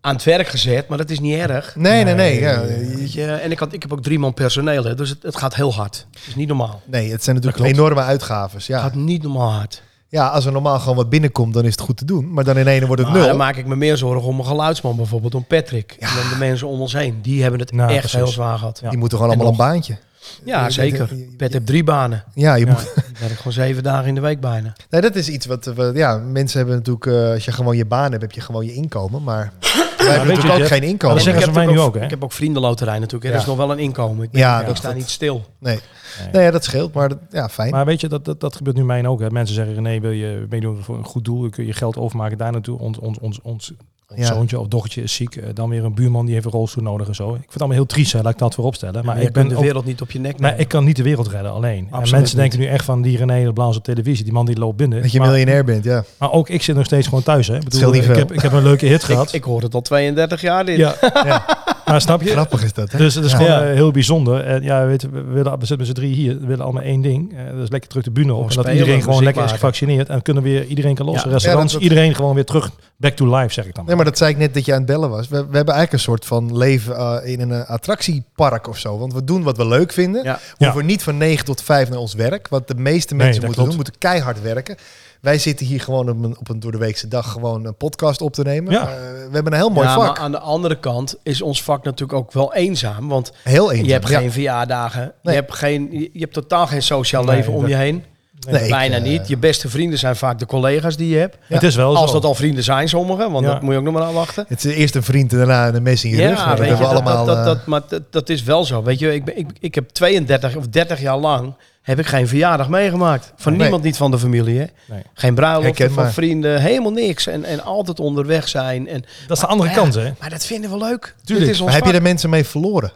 Speaker 4: aan het werk gezet, maar dat is niet erg.
Speaker 1: Nee, nee, nee. ja.
Speaker 4: Weet je, en ik, had, ik heb ook drie man personeel, hè, dus het, het gaat heel hard. Het is niet normaal.
Speaker 1: Nee, het zijn natuurlijk
Speaker 4: klopt.
Speaker 1: enorme uitgaves.
Speaker 4: Het
Speaker 1: Ja.
Speaker 4: gaat niet normaal hard.
Speaker 1: ja, als er normaal gewoon wat binnenkomt, dan is het goed te doen. Maar dan in ene wordt het
Speaker 4: Maar
Speaker 1: nul.
Speaker 4: dan maak ik me meer zorgen om mijn geluidsman bijvoorbeeld, om Patrick. En dan de mensen om ons heen. Die hebben het
Speaker 3: Nou,
Speaker 4: echt
Speaker 3: precies.
Speaker 4: heel zwaar gehad. Ja,
Speaker 1: Die moeten gewoon
Speaker 4: En
Speaker 1: allemaal een baantje. Ja,
Speaker 4: zeker.
Speaker 1: je- je-
Speaker 4: Pet heeft drie banen.
Speaker 1: Ja, je
Speaker 3: Ja.
Speaker 1: moet,
Speaker 4: Ik werk gewoon zeven dagen in de week bijna.
Speaker 1: nee, dat is iets wat, wat- ja, mensen hebben natuurlijk, eh, als je gewoon je baan hebt, heb je gewoon je inkomen. Maar wij hebben
Speaker 3: weet je,
Speaker 1: natuurlijk ook
Speaker 3: Jeff,
Speaker 1: geen
Speaker 3: dan
Speaker 1: inkomen.
Speaker 3: zeggen
Speaker 4: ik
Speaker 3: ze mij
Speaker 4: heb
Speaker 3: nu
Speaker 4: natuurlijk
Speaker 3: ook, hè?
Speaker 4: Ik heb ook vriendenloterij natuurlijk. hè. Er
Speaker 1: Ja.
Speaker 4: is nog wel een inkomen. Ik, ben-
Speaker 1: Ja,
Speaker 4: ik
Speaker 1: dat-
Speaker 4: sta
Speaker 1: dat-
Speaker 4: niet
Speaker 3: Ah,
Speaker 4: stil.
Speaker 1: Nee. nee, ja, dat scheelt, maar dat- ja, fijn.
Speaker 3: Maar weet je, dat, dat, dat gebeurt nu mij ook. Hè. Mensen zeggen, René, wil je meedoen voor een goed doel? Kun je geld overmaken daar naartoe? Ons, ons, ons, ons, ons
Speaker 1: Ja.
Speaker 3: zoontje of dochtertje is ziek. Eh, Dan weer een buurman die heeft een rolstoel nodig en zo. Ik vind het allemaal heel triest, hè. laat ik dat voorop stellen. Maar
Speaker 4: Maar
Speaker 3: ik ben
Speaker 4: de
Speaker 3: ook-
Speaker 4: wereld niet op je nek.
Speaker 3: Nee,
Speaker 4: nemen.
Speaker 3: ik kan niet de wereld redden alleen. en
Speaker 4: Absoluut
Speaker 3: mensen
Speaker 4: niet.
Speaker 3: denken nu echt van die René de Blaas op televisie, die man die loopt binnen.
Speaker 1: dat je
Speaker 3: maar,
Speaker 1: miljonair bent, ja.
Speaker 3: maar ook ik zit nog steeds gewoon thuis. Hè. Ik,
Speaker 1: scheelt
Speaker 3: bedoel,
Speaker 1: niet
Speaker 3: ik,
Speaker 1: veel.
Speaker 3: heb, ik heb een leuke hit gehad.
Speaker 4: ik, ik hoor het al 32 jaar dit.
Speaker 3: ja. Maar snap je?
Speaker 1: Grappig is dat, hè?
Speaker 3: Dus het is
Speaker 1: Ja.
Speaker 3: gewoon
Speaker 4: Ja.
Speaker 3: eh, heel bijzonder. En ja, weet, je, we, willen, we zitten met z'n drie hier. We willen allemaal één ding. Eh, dat is lekker terug de bühne op.
Speaker 4: Gewoon
Speaker 3: En dat
Speaker 4: spelen,
Speaker 3: iedereen gewoon
Speaker 4: muziek
Speaker 3: lekker is
Speaker 4: maken.
Speaker 3: gevaccineerd. En kunnen weer iedereen kan los.
Speaker 4: Ja.
Speaker 3: Restaurants,
Speaker 1: Ja, dat-
Speaker 3: iedereen gewoon weer terug. Back to life, zeg ik dan.
Speaker 1: Nee, maar dat zei ik net dat je aan het bellen was. We, we hebben eigenlijk een soort van leven eh, in een eh, attractiepark of zo. Want we doen wat we leuk vinden.
Speaker 4: Ja.
Speaker 1: We hoeven niet van 9 tot 5 naar ons werk. Wat de meeste
Speaker 3: Nee,
Speaker 1: mensen
Speaker 3: dat
Speaker 1: moeten
Speaker 3: klopt.
Speaker 1: doen, moeten keihard werken. Wij zitten hier gewoon op een, op een door de weekse dag gewoon een podcast op te nemen.
Speaker 3: Ja.
Speaker 1: Eh, we hebben een heel mooi
Speaker 4: Ja,
Speaker 1: vak.
Speaker 4: maar aan de andere kant is ons vak natuurlijk ook wel eenzaam. Want
Speaker 1: Heel eenzaam.
Speaker 4: je hebt
Speaker 1: ja.
Speaker 4: geen verjaardagen.
Speaker 1: Nee.
Speaker 4: Je, hebt geen, je je hebt totaal geen sociaal
Speaker 3: Nee,
Speaker 4: leven om
Speaker 3: dat-
Speaker 4: je heen.
Speaker 1: Nee, ik,
Speaker 4: Bijna
Speaker 1: eh,
Speaker 4: niet. Je beste vrienden zijn vaak de collega's die je hebt.
Speaker 3: Het is wel
Speaker 4: Als
Speaker 3: zo.
Speaker 4: dat al vrienden zijn, sommigen. Want
Speaker 3: Ja.
Speaker 4: dat moet je ook nog maar afwachten.
Speaker 1: Het is eerst een vriend en daarna een mes in je rug. Maar dat
Speaker 4: weet
Speaker 1: hebben
Speaker 4: je,
Speaker 1: we allemaal.
Speaker 4: dat, dat,
Speaker 1: eh,
Speaker 4: dat, maar dat, dat is wel zo. Weet je, ik, ben, ik, ik heb 32 of 30 jaar lang heb ik geen verjaardag meegemaakt. Van
Speaker 1: Nee.
Speaker 4: niemand, niet van de familie. Hè?
Speaker 3: Nee.
Speaker 4: Geen bruiloft,
Speaker 1: Herkenbaar.
Speaker 4: van vrienden, helemaal niks. En, en altijd onderweg zijn. En,
Speaker 3: Dat is de andere
Speaker 4: Ja,
Speaker 3: kant, hè?
Speaker 4: Maar dat vinden we leuk.
Speaker 3: Tuurlijk.
Speaker 4: Dit is ons
Speaker 1: maar heb je
Speaker 4: vak.
Speaker 1: er mensen mee verloren?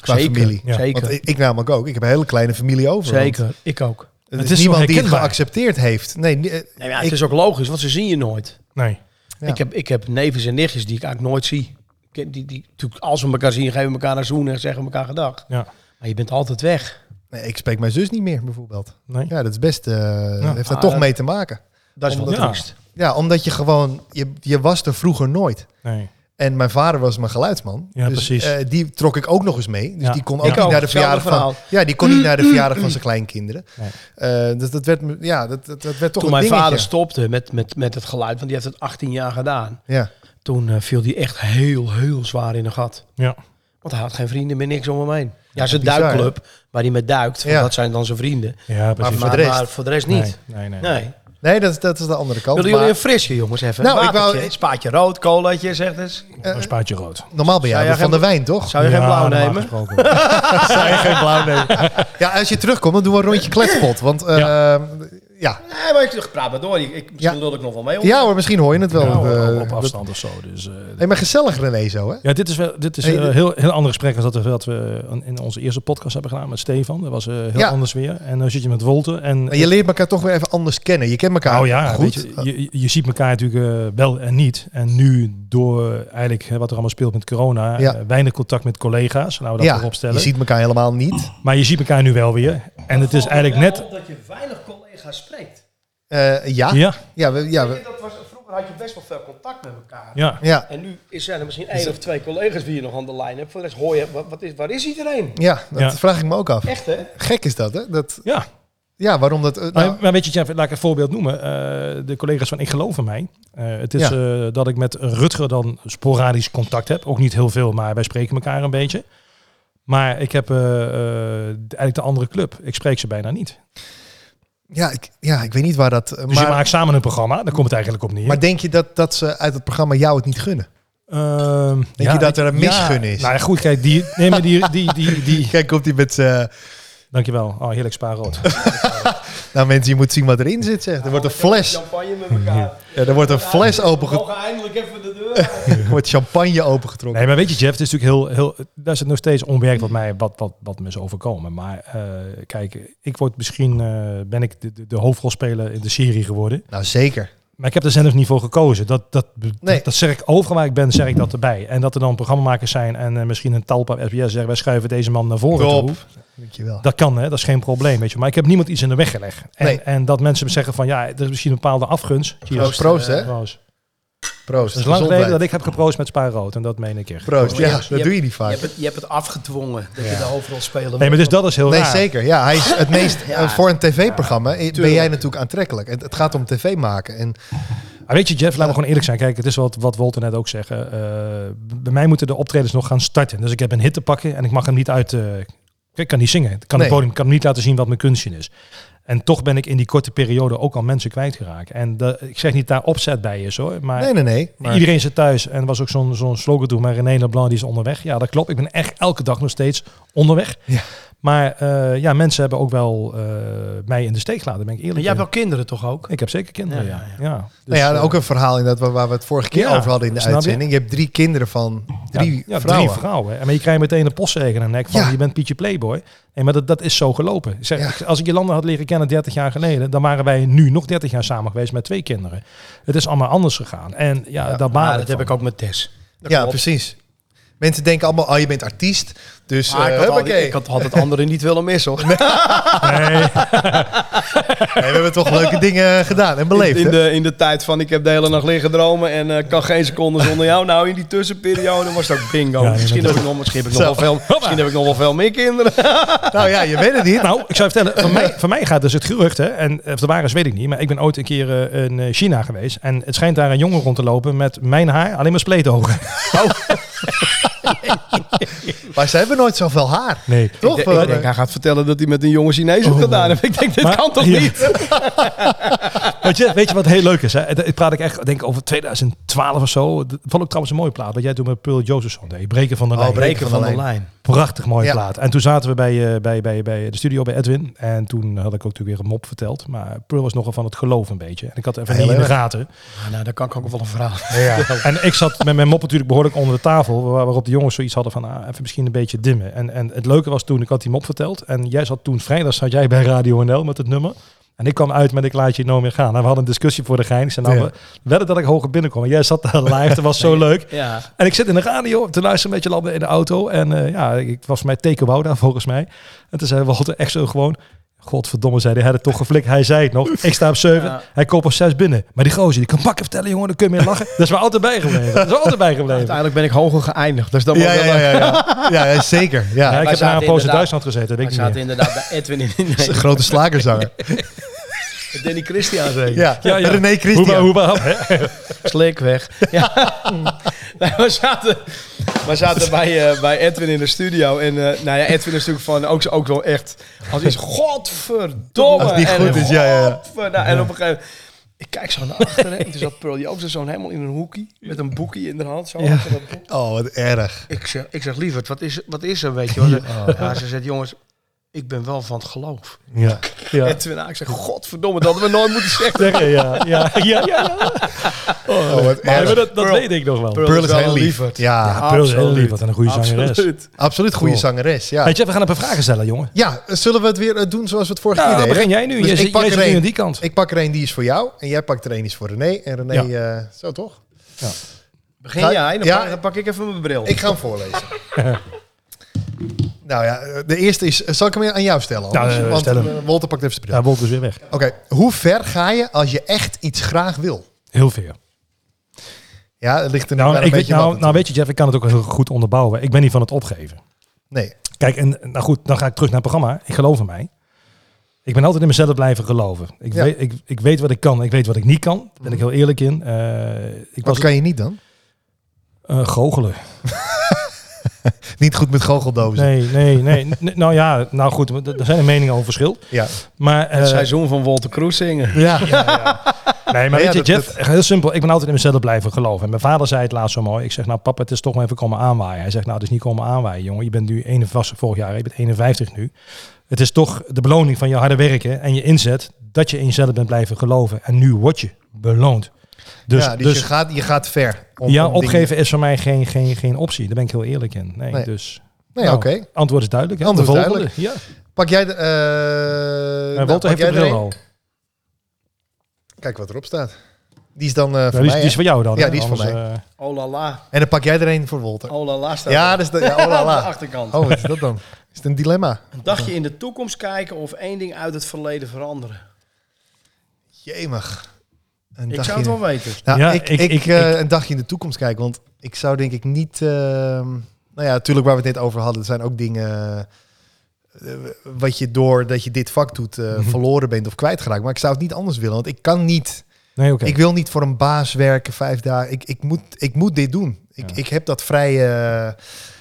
Speaker 1: Qua
Speaker 4: Zeker,
Speaker 1: familie.
Speaker 3: Ja.
Speaker 1: Want
Speaker 4: Zeker,
Speaker 1: ik, ik namelijk ook. Ik heb een hele kleine familie over. want
Speaker 4: zeker. Ik ook.
Speaker 1: Het, is,
Speaker 3: Het is zo
Speaker 1: niemand die het
Speaker 3: herkenbaar.
Speaker 1: geaccepteerd heeft. Nee, ni- eh,
Speaker 4: Nee, maar ja,
Speaker 1: ik-
Speaker 4: het is ook logisch, want ze zien je nooit.
Speaker 3: Nee.
Speaker 1: Ja.
Speaker 4: Ik, heb, ik heb nevens en nichtjes die ik eigenlijk nooit zie. Ik heb Die, die, natuurlijk, als we elkaar zien, geven we elkaar een zoen en zeggen we elkaar gedag.
Speaker 3: Ja.
Speaker 4: Maar je bent altijd weg.
Speaker 1: Nee, ik spreek mijn zus niet meer bijvoorbeeld.
Speaker 3: Nee.
Speaker 1: Ja, dat is best. eh heeft daar
Speaker 4: Ah,
Speaker 1: toch
Speaker 4: dat-
Speaker 1: mee te maken.
Speaker 4: Dat is wel
Speaker 3: Omdat- ja.
Speaker 4: triest.
Speaker 1: Ja, omdat je gewoon. Je, je was er vroeger nooit.
Speaker 3: Nee.
Speaker 1: En mijn vader was mijn geluidsman.
Speaker 3: Ja,
Speaker 1: dus,
Speaker 3: precies.
Speaker 1: eh, die trok ik ook nog eens mee. Dus
Speaker 3: Ja.
Speaker 1: die kon
Speaker 3: Ik
Speaker 1: ook niet
Speaker 4: ook.
Speaker 1: naar de
Speaker 4: Hetzelfde
Speaker 1: verjaardag van.
Speaker 4: verhaal.
Speaker 1: Ja, die kon niet naar de verjaardag van zijn kleinkinderen.
Speaker 3: Nee.
Speaker 1: Eh, dus dat werd, me- ja, dat, dat, dat werd toch
Speaker 4: Toen
Speaker 1: een
Speaker 4: mijn
Speaker 1: dingetje.
Speaker 4: vader stopte met, met, met het geluid, want die heeft het 18 jaar gedaan.
Speaker 1: Ja.
Speaker 4: Toen eh, viel hij echt heel, heel zwaar in een gat.
Speaker 3: Ja.
Speaker 4: Want hij had geen vrienden meer, niks om hem heen. Ja, zijn
Speaker 1: bizar,
Speaker 4: duikclub, waar hij met duikt, want
Speaker 1: Ja.
Speaker 4: dat zijn dan zijn vrienden.
Speaker 3: Ja, precies.
Speaker 1: voor de rest-
Speaker 4: voor de rest niet.
Speaker 3: Nee, nee, nee.
Speaker 4: Nee.
Speaker 1: Nee, dat, dat is de andere kant.
Speaker 4: Willen jullie
Speaker 1: Maar
Speaker 4: een frisje, jongens, even?
Speaker 1: Nou, ik
Speaker 4: Watertje,
Speaker 1: wou-
Speaker 4: Spaatje rood, colaatje, zegt eens.
Speaker 3: Een spaatje rood.
Speaker 1: normaal ben jij
Speaker 4: Zou
Speaker 1: wel
Speaker 4: jij
Speaker 1: van de
Speaker 4: geen-
Speaker 1: wijn, toch?
Speaker 4: Zou je geen blauw nemen?
Speaker 1: Zou je geen blauw nemen? Ja, als je terugkomt, dan doen we een rondje kletspot. Want eh, ja.
Speaker 4: Nee, maar ik praat maar door. Ik, ik, misschien
Speaker 1: Ja.
Speaker 4: wil ik nog wel mee. om.
Speaker 1: ja hoor, misschien hoor je het wel.
Speaker 3: Ja,
Speaker 1: Eh,
Speaker 3: op
Speaker 1: dat-
Speaker 3: afstand of zo. Dus, eh,
Speaker 1: Nee, maar gezellig René zo, hè?
Speaker 3: Ja, dit is wel dit is
Speaker 1: Hey,
Speaker 3: een
Speaker 1: dit-
Speaker 3: heel, heel ander gesprek als dat we, dat we aan- in onze eerste podcast hebben gedaan met Stefan. Dat was eh, heel
Speaker 1: Ja.
Speaker 3: anders weer. En dan zit je met Wolter. En,
Speaker 1: Maar je leert elkaar toch weer even anders kennen. Je kent elkaar
Speaker 3: nou ja,
Speaker 1: goed.
Speaker 3: weet je, je, je ziet elkaar natuurlijk eh, wel en niet. En nu door eh, eigenlijk hè, wat er allemaal speelt met corona,
Speaker 1: Ja.
Speaker 3: eh, weinig contact met collega's. Laten we dat
Speaker 1: ja,
Speaker 3: voorop
Speaker 1: je
Speaker 3: stellen.
Speaker 1: ziet elkaar helemaal niet.
Speaker 3: Maar je ziet elkaar nu wel weer. En het is eigenlijk net...
Speaker 4: Dat je weinig collega's spreekt.
Speaker 1: Eh, ja, ja.
Speaker 3: Ja,
Speaker 1: we, ja, we-
Speaker 4: Dat was, vroeger had je best wel veel contact met elkaar.
Speaker 3: ja.
Speaker 1: ja,
Speaker 4: En nu is- zijn er misschien één of twee collega's die je nog aan de lijn hebt. Voor de rest hoor je, wat, wat is, waar is iedereen?
Speaker 1: ja, dat
Speaker 3: Ja.
Speaker 1: vraag ik me ook af.
Speaker 4: Echt hè?
Speaker 1: Gek is dat, hè? Dat,
Speaker 3: ja.
Speaker 1: ja, waarom dat... eh, nou,
Speaker 3: Maar, maar weet je, Jeff, laat ik een voorbeeld noemen. Eh, de collega's van Ik Geloof in Mij. Eh, het is
Speaker 1: Ja.
Speaker 3: eh, dat ik met Rutger dan sporadisch contact heb. Ook niet heel veel, maar wij spreken elkaar een beetje. Maar ik heb eh, eh, eigenlijk de andere club. Ik spreek ze bijna niet.
Speaker 1: ja, ik, ja, ik weet niet waar dat... eh,
Speaker 3: Dus je
Speaker 1: maar,
Speaker 3: maakt samen een programma. Daar komt het eigenlijk op neer.
Speaker 1: maar denk je dat, dat ze uit het programma jou het niet gunnen?
Speaker 3: Ehm,
Speaker 1: Denk je dat er een misgun is?
Speaker 3: Nou ja, goed, kijk, die, nee, maar die, die, die, die.
Speaker 1: Kijk, komt hij met... eh, z'n-
Speaker 3: Dankjewel. Oh, heerlijk spaarrood.
Speaker 1: nou mensen, je moet zien wat erin zit, zeg. Er wordt een fles,
Speaker 4: Champagne met elkaar.
Speaker 1: ja, er wordt een fles opengetrokken.
Speaker 4: eindelijk even de deur.
Speaker 1: Er wordt champagne opengetrokken.
Speaker 3: Nee, maar weet je, Jeff, het is natuurlijk heel, heel. Daar is het nog steeds onwerk wat mij wat, wat, wat me is overkomen. Maar eh, kijk, ik word misschien eh, ben ik de, de, de hoofdrolspeler in de serie geworden.
Speaker 1: Nou, zeker.
Speaker 3: Maar ik heb er zelf niet voor gekozen. Dat, dat,
Speaker 1: Nee.
Speaker 3: dat, dat zeg ik overal waar ik ben, zeg ik dat erbij. En dat er dan programmamakers zijn en eh, misschien een talpa op SBS zeggen, wij schuiven deze man naar voren.
Speaker 1: Top.
Speaker 3: toe.
Speaker 1: Dankjewel.
Speaker 3: Dat kan, hè? dat is geen probleem. Weet je. Maar ik heb niemand iets in de weg gelegd. En,
Speaker 1: Nee.
Speaker 3: en dat mensen zeggen van ja, er is misschien een bepaalde afgunst. Cheers.
Speaker 1: Proost, proost, hè?
Speaker 3: Proost.
Speaker 1: Proost.
Speaker 3: Het is lang geleden dat
Speaker 1: Gezondheid.
Speaker 3: ik heb geproost met Spa Rood. En dat meen ik echt.
Speaker 1: Proost, ja,
Speaker 4: Je
Speaker 1: dat
Speaker 4: hebt-
Speaker 1: doe je niet
Speaker 4: Je
Speaker 1: vaak.
Speaker 4: hebt het, je hebt het afgedwongen dat je de hoofdrol speelde.
Speaker 3: Nee, maar dus dat is heel
Speaker 1: Nee,
Speaker 3: raar.
Speaker 1: zeker. Ja, hij is het meest,
Speaker 4: Ja.
Speaker 1: eh, voor een tv-programma eh, ben
Speaker 4: Tuurlijk.
Speaker 1: jij natuurlijk aantrekkelijk. Het, het gaat om tv maken. En
Speaker 3: Maar Ah, weet je, Jeff, laten we gewoon eerlijk zijn. Kijk, het is wat, wat Wolter net ook zeggen. Eh, bij mij moeten de optredens nog gaan starten. Dus ik heb een hit te pakken en ik mag hem niet uit. eh, Kijk, ik kan niet zingen. Ik kan
Speaker 1: Nee.
Speaker 3: het podium ik kan hem niet laten zien wat mijn kunstje is. En toch ben ik in die korte periode ook al mensen kwijtgeraakt. En dat- ik zeg niet daar opzet bij is hoor. Maar
Speaker 1: nee, nee, nee. Maar,
Speaker 3: iedereen zit thuis. En er was ook zo'n zo'n slogan toen. Maar René Leblanc die is onderweg. Ja, dat klopt. Ik ben echt elke dag nog steeds onderweg.
Speaker 1: Ja.
Speaker 3: Maar eh, ja, mensen hebben ook wel eh, mij in de steek gelaten. Ben ik eerlijk.
Speaker 4: Maar jij hebt
Speaker 3: in.
Speaker 4: wel kinderen toch ook?
Speaker 3: Ik heb zeker kinderen. Ja,
Speaker 4: Ja,
Speaker 3: ja.
Speaker 4: ja,
Speaker 1: nou
Speaker 3: Dus,
Speaker 1: ja,
Speaker 3: eh,
Speaker 1: ook een verhaal inderdaad waar, waar we het vorige keer
Speaker 3: Ja,
Speaker 1: over hadden in de
Speaker 3: snap je?
Speaker 1: uitzending. Je? hebt drie kinderen van drie
Speaker 3: ja, ja,
Speaker 1: vrouwen.
Speaker 3: Drie vrouwen. En maar je krijgt meteen een postzegen aan de nek van
Speaker 1: Ja.
Speaker 3: je bent Pietje Playboy. Nee, maar dat, dat is zo gelopen. Ik Zeg,
Speaker 1: Ja.
Speaker 3: ik- Als ik Jolanda had leren kennen 30 jaar geleden, dan waren wij nu nog 30 jaar samen geweest met twee kinderen. Het is allemaal anders gegaan. En ja, daar baal
Speaker 4: Maar
Speaker 3: ik
Speaker 4: dat
Speaker 3: van.
Speaker 4: heb ik ook met Tess.
Speaker 1: ja, precies. Mensen denken allemaal, oh, je bent artiest. Dus
Speaker 4: Maar
Speaker 1: eh,
Speaker 4: ik, had al die-
Speaker 1: huppakee.
Speaker 4: ik had, had het andere niet willen missen hoor.
Speaker 1: Nee, we hebben toch leuke dingen gedaan en beleefd.
Speaker 4: in,
Speaker 1: hè?
Speaker 4: in de, in de tijd van ik heb de hele nacht liggen dromen en eh, kan geen seconde zonder jou. Nou, in die tussenperiode was dat bingo.
Speaker 3: Ja,
Speaker 4: misschien,
Speaker 3: inderdaad.
Speaker 4: heb ik nog, misschien, heb ik
Speaker 1: Zo.
Speaker 4: nog wel veel, misschien heb ik nog wel veel meer kinderen.
Speaker 1: Nou ja, je weet het niet.
Speaker 3: Nou, ik zou je vertellen, van mij, van mij gaat dus het gerucht, hè, en of de waar is weet ik niet, maar ik ben ooit een keer eh, in eh, China geweest en het schijnt daar een jongen rond te lopen met mijn haar, alleen maar spleetogen.
Speaker 1: Oh. Maar ze hebben nooit zoveel haar.
Speaker 3: Nee.
Speaker 1: Toch? eh,
Speaker 4: Ik denk- ik denk, hij gaat vertellen dat hij met een jonge Chinees heeft gedaan. heeft. Ik denk, dit
Speaker 3: Maar-
Speaker 4: kan toch
Speaker 3: Ja.
Speaker 4: niet?
Speaker 3: Weet je, weet je wat heel leuk is? Hè? Het- Ik praat ik echt denk ik, over 2012 of zo. Dat vond ik trouwens een mooie plaat. Wat jij toen met Pearl Josephson deed. Breken van de
Speaker 1: Oh,
Speaker 3: lijn.
Speaker 1: Breken van de
Speaker 4: lijn.
Speaker 3: Prachtig mooie
Speaker 1: Ja.
Speaker 3: plaat. En toen zaten we bij, eh, bij, bij, bij de studio bij Edwin. En toen had ik ook natuurlijk weer een mop verteld. Maar Pearl was nogal van het geloof een beetje. En ik had het even
Speaker 1: Heel
Speaker 3: niet in de
Speaker 1: erg.
Speaker 3: gaten.
Speaker 4: nou, daar kan ik ook wel een verhaal.
Speaker 3: En ik zat met mijn mop natuurlijk behoorlijk onder de tafel. waar- Waarop de jongens zoiets hadden van ah, even misschien een beetje dimmen. En, en het leuke was toen, ik had die mop verteld. En jij zat toen, vrijdag zat jij bij Radio NL met het nummer. En ik kwam uit met ik laat je nooit meer gaan. En we hadden een discussie voor de gein. Ik zei nou,
Speaker 1: Ja.
Speaker 3: we wedden dat ik hoger binnenkom. En jij zat daar live, dat was zo leuk.
Speaker 4: Ja.
Speaker 3: En ik zit in de radio te luisteren met je landen in de auto. En eh, ja, ik was mij teken Wouda volgens mij. En toen zei Walter echt zo gewoon... Godverdomme, zei hij, hij had het toch geflikt. Hij zei het nog. Ik sta op 7,
Speaker 4: Ja.
Speaker 3: hij koopt op 6 binnen. Maar die gozer, die kan pakken vertellen, jongen, dan kun je meer lachen. Dat is wel altijd bijgebleven. Dat is wel altijd bijgebleven.
Speaker 4: Uiteindelijk ben ik hoger geëindigd. Dus dan
Speaker 1: Ja, ja, ja, ja, ja. ja, ja, zeker. Ja.
Speaker 3: Ja, ik
Speaker 4: wij
Speaker 3: heb
Speaker 4: zaten
Speaker 3: daar een poos in
Speaker 4: inderdaad-
Speaker 3: Duitsland gezeten, dat weet
Speaker 4: Ik
Speaker 3: ik niet
Speaker 4: zat
Speaker 3: meer.
Speaker 4: inderdaad bij Edwin in.
Speaker 1: Een grote slagerzanger.
Speaker 4: Danny Christian zeker.
Speaker 1: Ja,
Speaker 3: Ja, ja.
Speaker 1: René Christian.
Speaker 3: Hoe, maar- hoe, maar- hè?
Speaker 4: Slik weg. Ja. Nee, we zaten, we zaten bij, eh, bij Edwin in de studio. En eh, nou ja, Edwin is natuurlijk van ook, ook wel echt. Als is godverdomme.
Speaker 1: Als die goed
Speaker 4: en,
Speaker 1: is, ja, ja, ja.
Speaker 4: godver- nou, en op een gegeven moment. Ik kijk zo naar achteren. En toen zat Pearl Joost zo'n helemaal in een hoekie. Met een boekie in de hand. Zo achter dat boek.
Speaker 1: Oh, wat erg.
Speaker 4: Ik zeg, ik zeg lieverd, wat is, wat is er, weet je wel? Ze- Ja, ze zegt, jongens, ik ben wel van het geloof.
Speaker 3: Ja, ja.
Speaker 4: Edwin, nou, ik zeg, godverdomme, dat hadden we nooit moeten zeggen.
Speaker 3: Zeg je, ja, ja, ja, ja, ja.
Speaker 1: Oh, wat
Speaker 3: Ja, maar
Speaker 1: erg.
Speaker 3: dat, dat weet ik nog wel.
Speaker 1: Pearl is
Speaker 4: wel
Speaker 1: heel
Speaker 4: een
Speaker 1: lief.
Speaker 4: lieverd.
Speaker 1: Ja,
Speaker 3: Pearl is heel lief,
Speaker 4: Absoluut.
Speaker 3: wat een goede zangeres.
Speaker 4: Absoluut.
Speaker 1: absoluut goede
Speaker 3: Cool.
Speaker 1: zangeres. Ja.
Speaker 3: Weet je, we gaan een paar vragen stellen, jongen.
Speaker 1: ja, zullen we het weer eh, doen zoals we het vorige
Speaker 3: Ja,
Speaker 1: keer deden?
Speaker 3: Nou, begin jij nu.
Speaker 1: Dus
Speaker 3: jij
Speaker 1: ik
Speaker 3: zit,
Speaker 1: pak
Speaker 3: jij
Speaker 1: er
Speaker 3: zit nu
Speaker 1: één.
Speaker 3: aan die kant.
Speaker 1: Ik pak er één die is voor jou en jij pakt er één die is voor René. En René, eh, zo toch? Ga-
Speaker 4: Begin jij, dan,
Speaker 1: Ja.
Speaker 4: pak, dan pak ik even mijn bril.
Speaker 1: Ik ga hem voorlezen. nou ja, eh, de eerste is... eh, Zal ik hem aan jou stellen?
Speaker 3: Nou,
Speaker 1: anders?
Speaker 3: eh,
Speaker 1: Want
Speaker 3: stel hem.
Speaker 1: eh, Wolter pakt even zijn bril.
Speaker 3: Ja, Wolf is weer weg.
Speaker 1: Oké, hoe ver ga je als je echt iets graag wil?
Speaker 3: Heel veel.
Speaker 1: Ja, het ligt er
Speaker 3: Nou,
Speaker 1: maar een
Speaker 3: ik weet,
Speaker 1: beetje
Speaker 3: nou,
Speaker 1: wat
Speaker 3: nou weet je, Jeff, ik kan het ook heel goed onderbouwen. Ik ben niet van het opgeven.
Speaker 1: Nee,
Speaker 3: Kijk, en nou goed, dan ga ik terug naar het programma. Ik geloof in mij. Ik ben altijd in mezelf blijven geloven. Ik,
Speaker 1: Ja. Mhm.
Speaker 3: weet, ik, ik weet wat ik kan, ik weet wat ik niet kan. Daar ben ik heel eerlijk in. Eh, ik
Speaker 1: wat
Speaker 3: was
Speaker 1: kan je niet dan?
Speaker 3: eh, goochelen.
Speaker 1: Niet goed met goocheldozen.
Speaker 3: Nee, nee, nee. N- nou ja, nou goed, want er er zijn er meningen over verschil.
Speaker 1: Ja.
Speaker 3: Maar, eh,
Speaker 4: Het seizoen van Walter Kroes zingen.
Speaker 3: Ja. Nee, maar
Speaker 1: Ja,
Speaker 3: weet je,
Speaker 1: dat-
Speaker 3: Jeff, heel simpel. Ik ben altijd in mezelf blijven geloven. En mijn vader zei het laatst zo mooi. Ik zeg, nou papa, het is toch maar even komen aanwaaien. Hij zegt, nou het is niet komen aanwaaien, jongen. Je bent nu 51, vorig jaar, je bent 51 nu. Het is toch de beloning van je harde werken en je inzet dat je in jezelf bent blijven geloven. En nu word je beloond. Dus,
Speaker 1: ja, dus,
Speaker 3: dus
Speaker 1: je, gaat, je gaat ver. om-
Speaker 3: ja,
Speaker 1: om dingen-
Speaker 3: opgeven is voor mij geen, geen, geen optie. Daar ben ik heel eerlijk in. Nee,
Speaker 1: Nee.
Speaker 3: dus...
Speaker 1: Nee,
Speaker 3: nou,
Speaker 1: oké.
Speaker 3: Antwoord is duidelijk. Hè?
Speaker 1: Antwoord
Speaker 3: De
Speaker 1: is
Speaker 3: volgende. Ja.
Speaker 1: Pak jij de... eh
Speaker 3: Eh,
Speaker 1: nou,
Speaker 3: Walter
Speaker 1: pak
Speaker 3: heeft
Speaker 1: jij
Speaker 3: de
Speaker 1: er
Speaker 3: bril
Speaker 1: een.
Speaker 3: al.
Speaker 1: Kijk wat erop staat. Die is dan eh
Speaker 3: Ja,
Speaker 1: voor
Speaker 3: die, is,
Speaker 1: mij,
Speaker 3: die is
Speaker 1: hè?
Speaker 3: voor jou dan.
Speaker 1: Ja,
Speaker 3: hè?
Speaker 1: die is voor
Speaker 3: Anders, eh,
Speaker 4: Oh la la.
Speaker 1: En dan pak jij er een voor Wolter.
Speaker 4: Oh la la staat
Speaker 1: ja,
Speaker 4: er.
Speaker 1: dus de, ja, oh la
Speaker 4: Aan de
Speaker 1: la.
Speaker 4: achterkant.
Speaker 1: Oh, wat is dat dan? Is het een dilemma?
Speaker 4: Een dagje in de toekomst kijken of één ding uit het verleden veranderen.
Speaker 1: Jemig. een
Speaker 4: Ik
Speaker 1: dagje-
Speaker 4: zou het wel weten.
Speaker 1: Nou,
Speaker 3: Ja,
Speaker 1: ik,
Speaker 3: ik-
Speaker 1: ik,
Speaker 3: ik-
Speaker 1: eh,
Speaker 3: ik-
Speaker 1: een dagje in de toekomst kijken. Want ik zou denk ik niet... ehm, nou ja, natuurlijk waar we het net over hadden. Er zijn ook dingen... eh, wat je door dat je dit vak doet eh,
Speaker 3: Mhm.
Speaker 1: verloren bent of kwijtgeraakt. Maar ik zou het niet anders willen. Want ik kan niet...
Speaker 3: Nee, oké.
Speaker 1: Ik wil niet voor een baas werken vijf dagen. Ik, ik, moet, ik moet dit doen. Ik,
Speaker 3: Ja.
Speaker 1: ik heb dat vrije...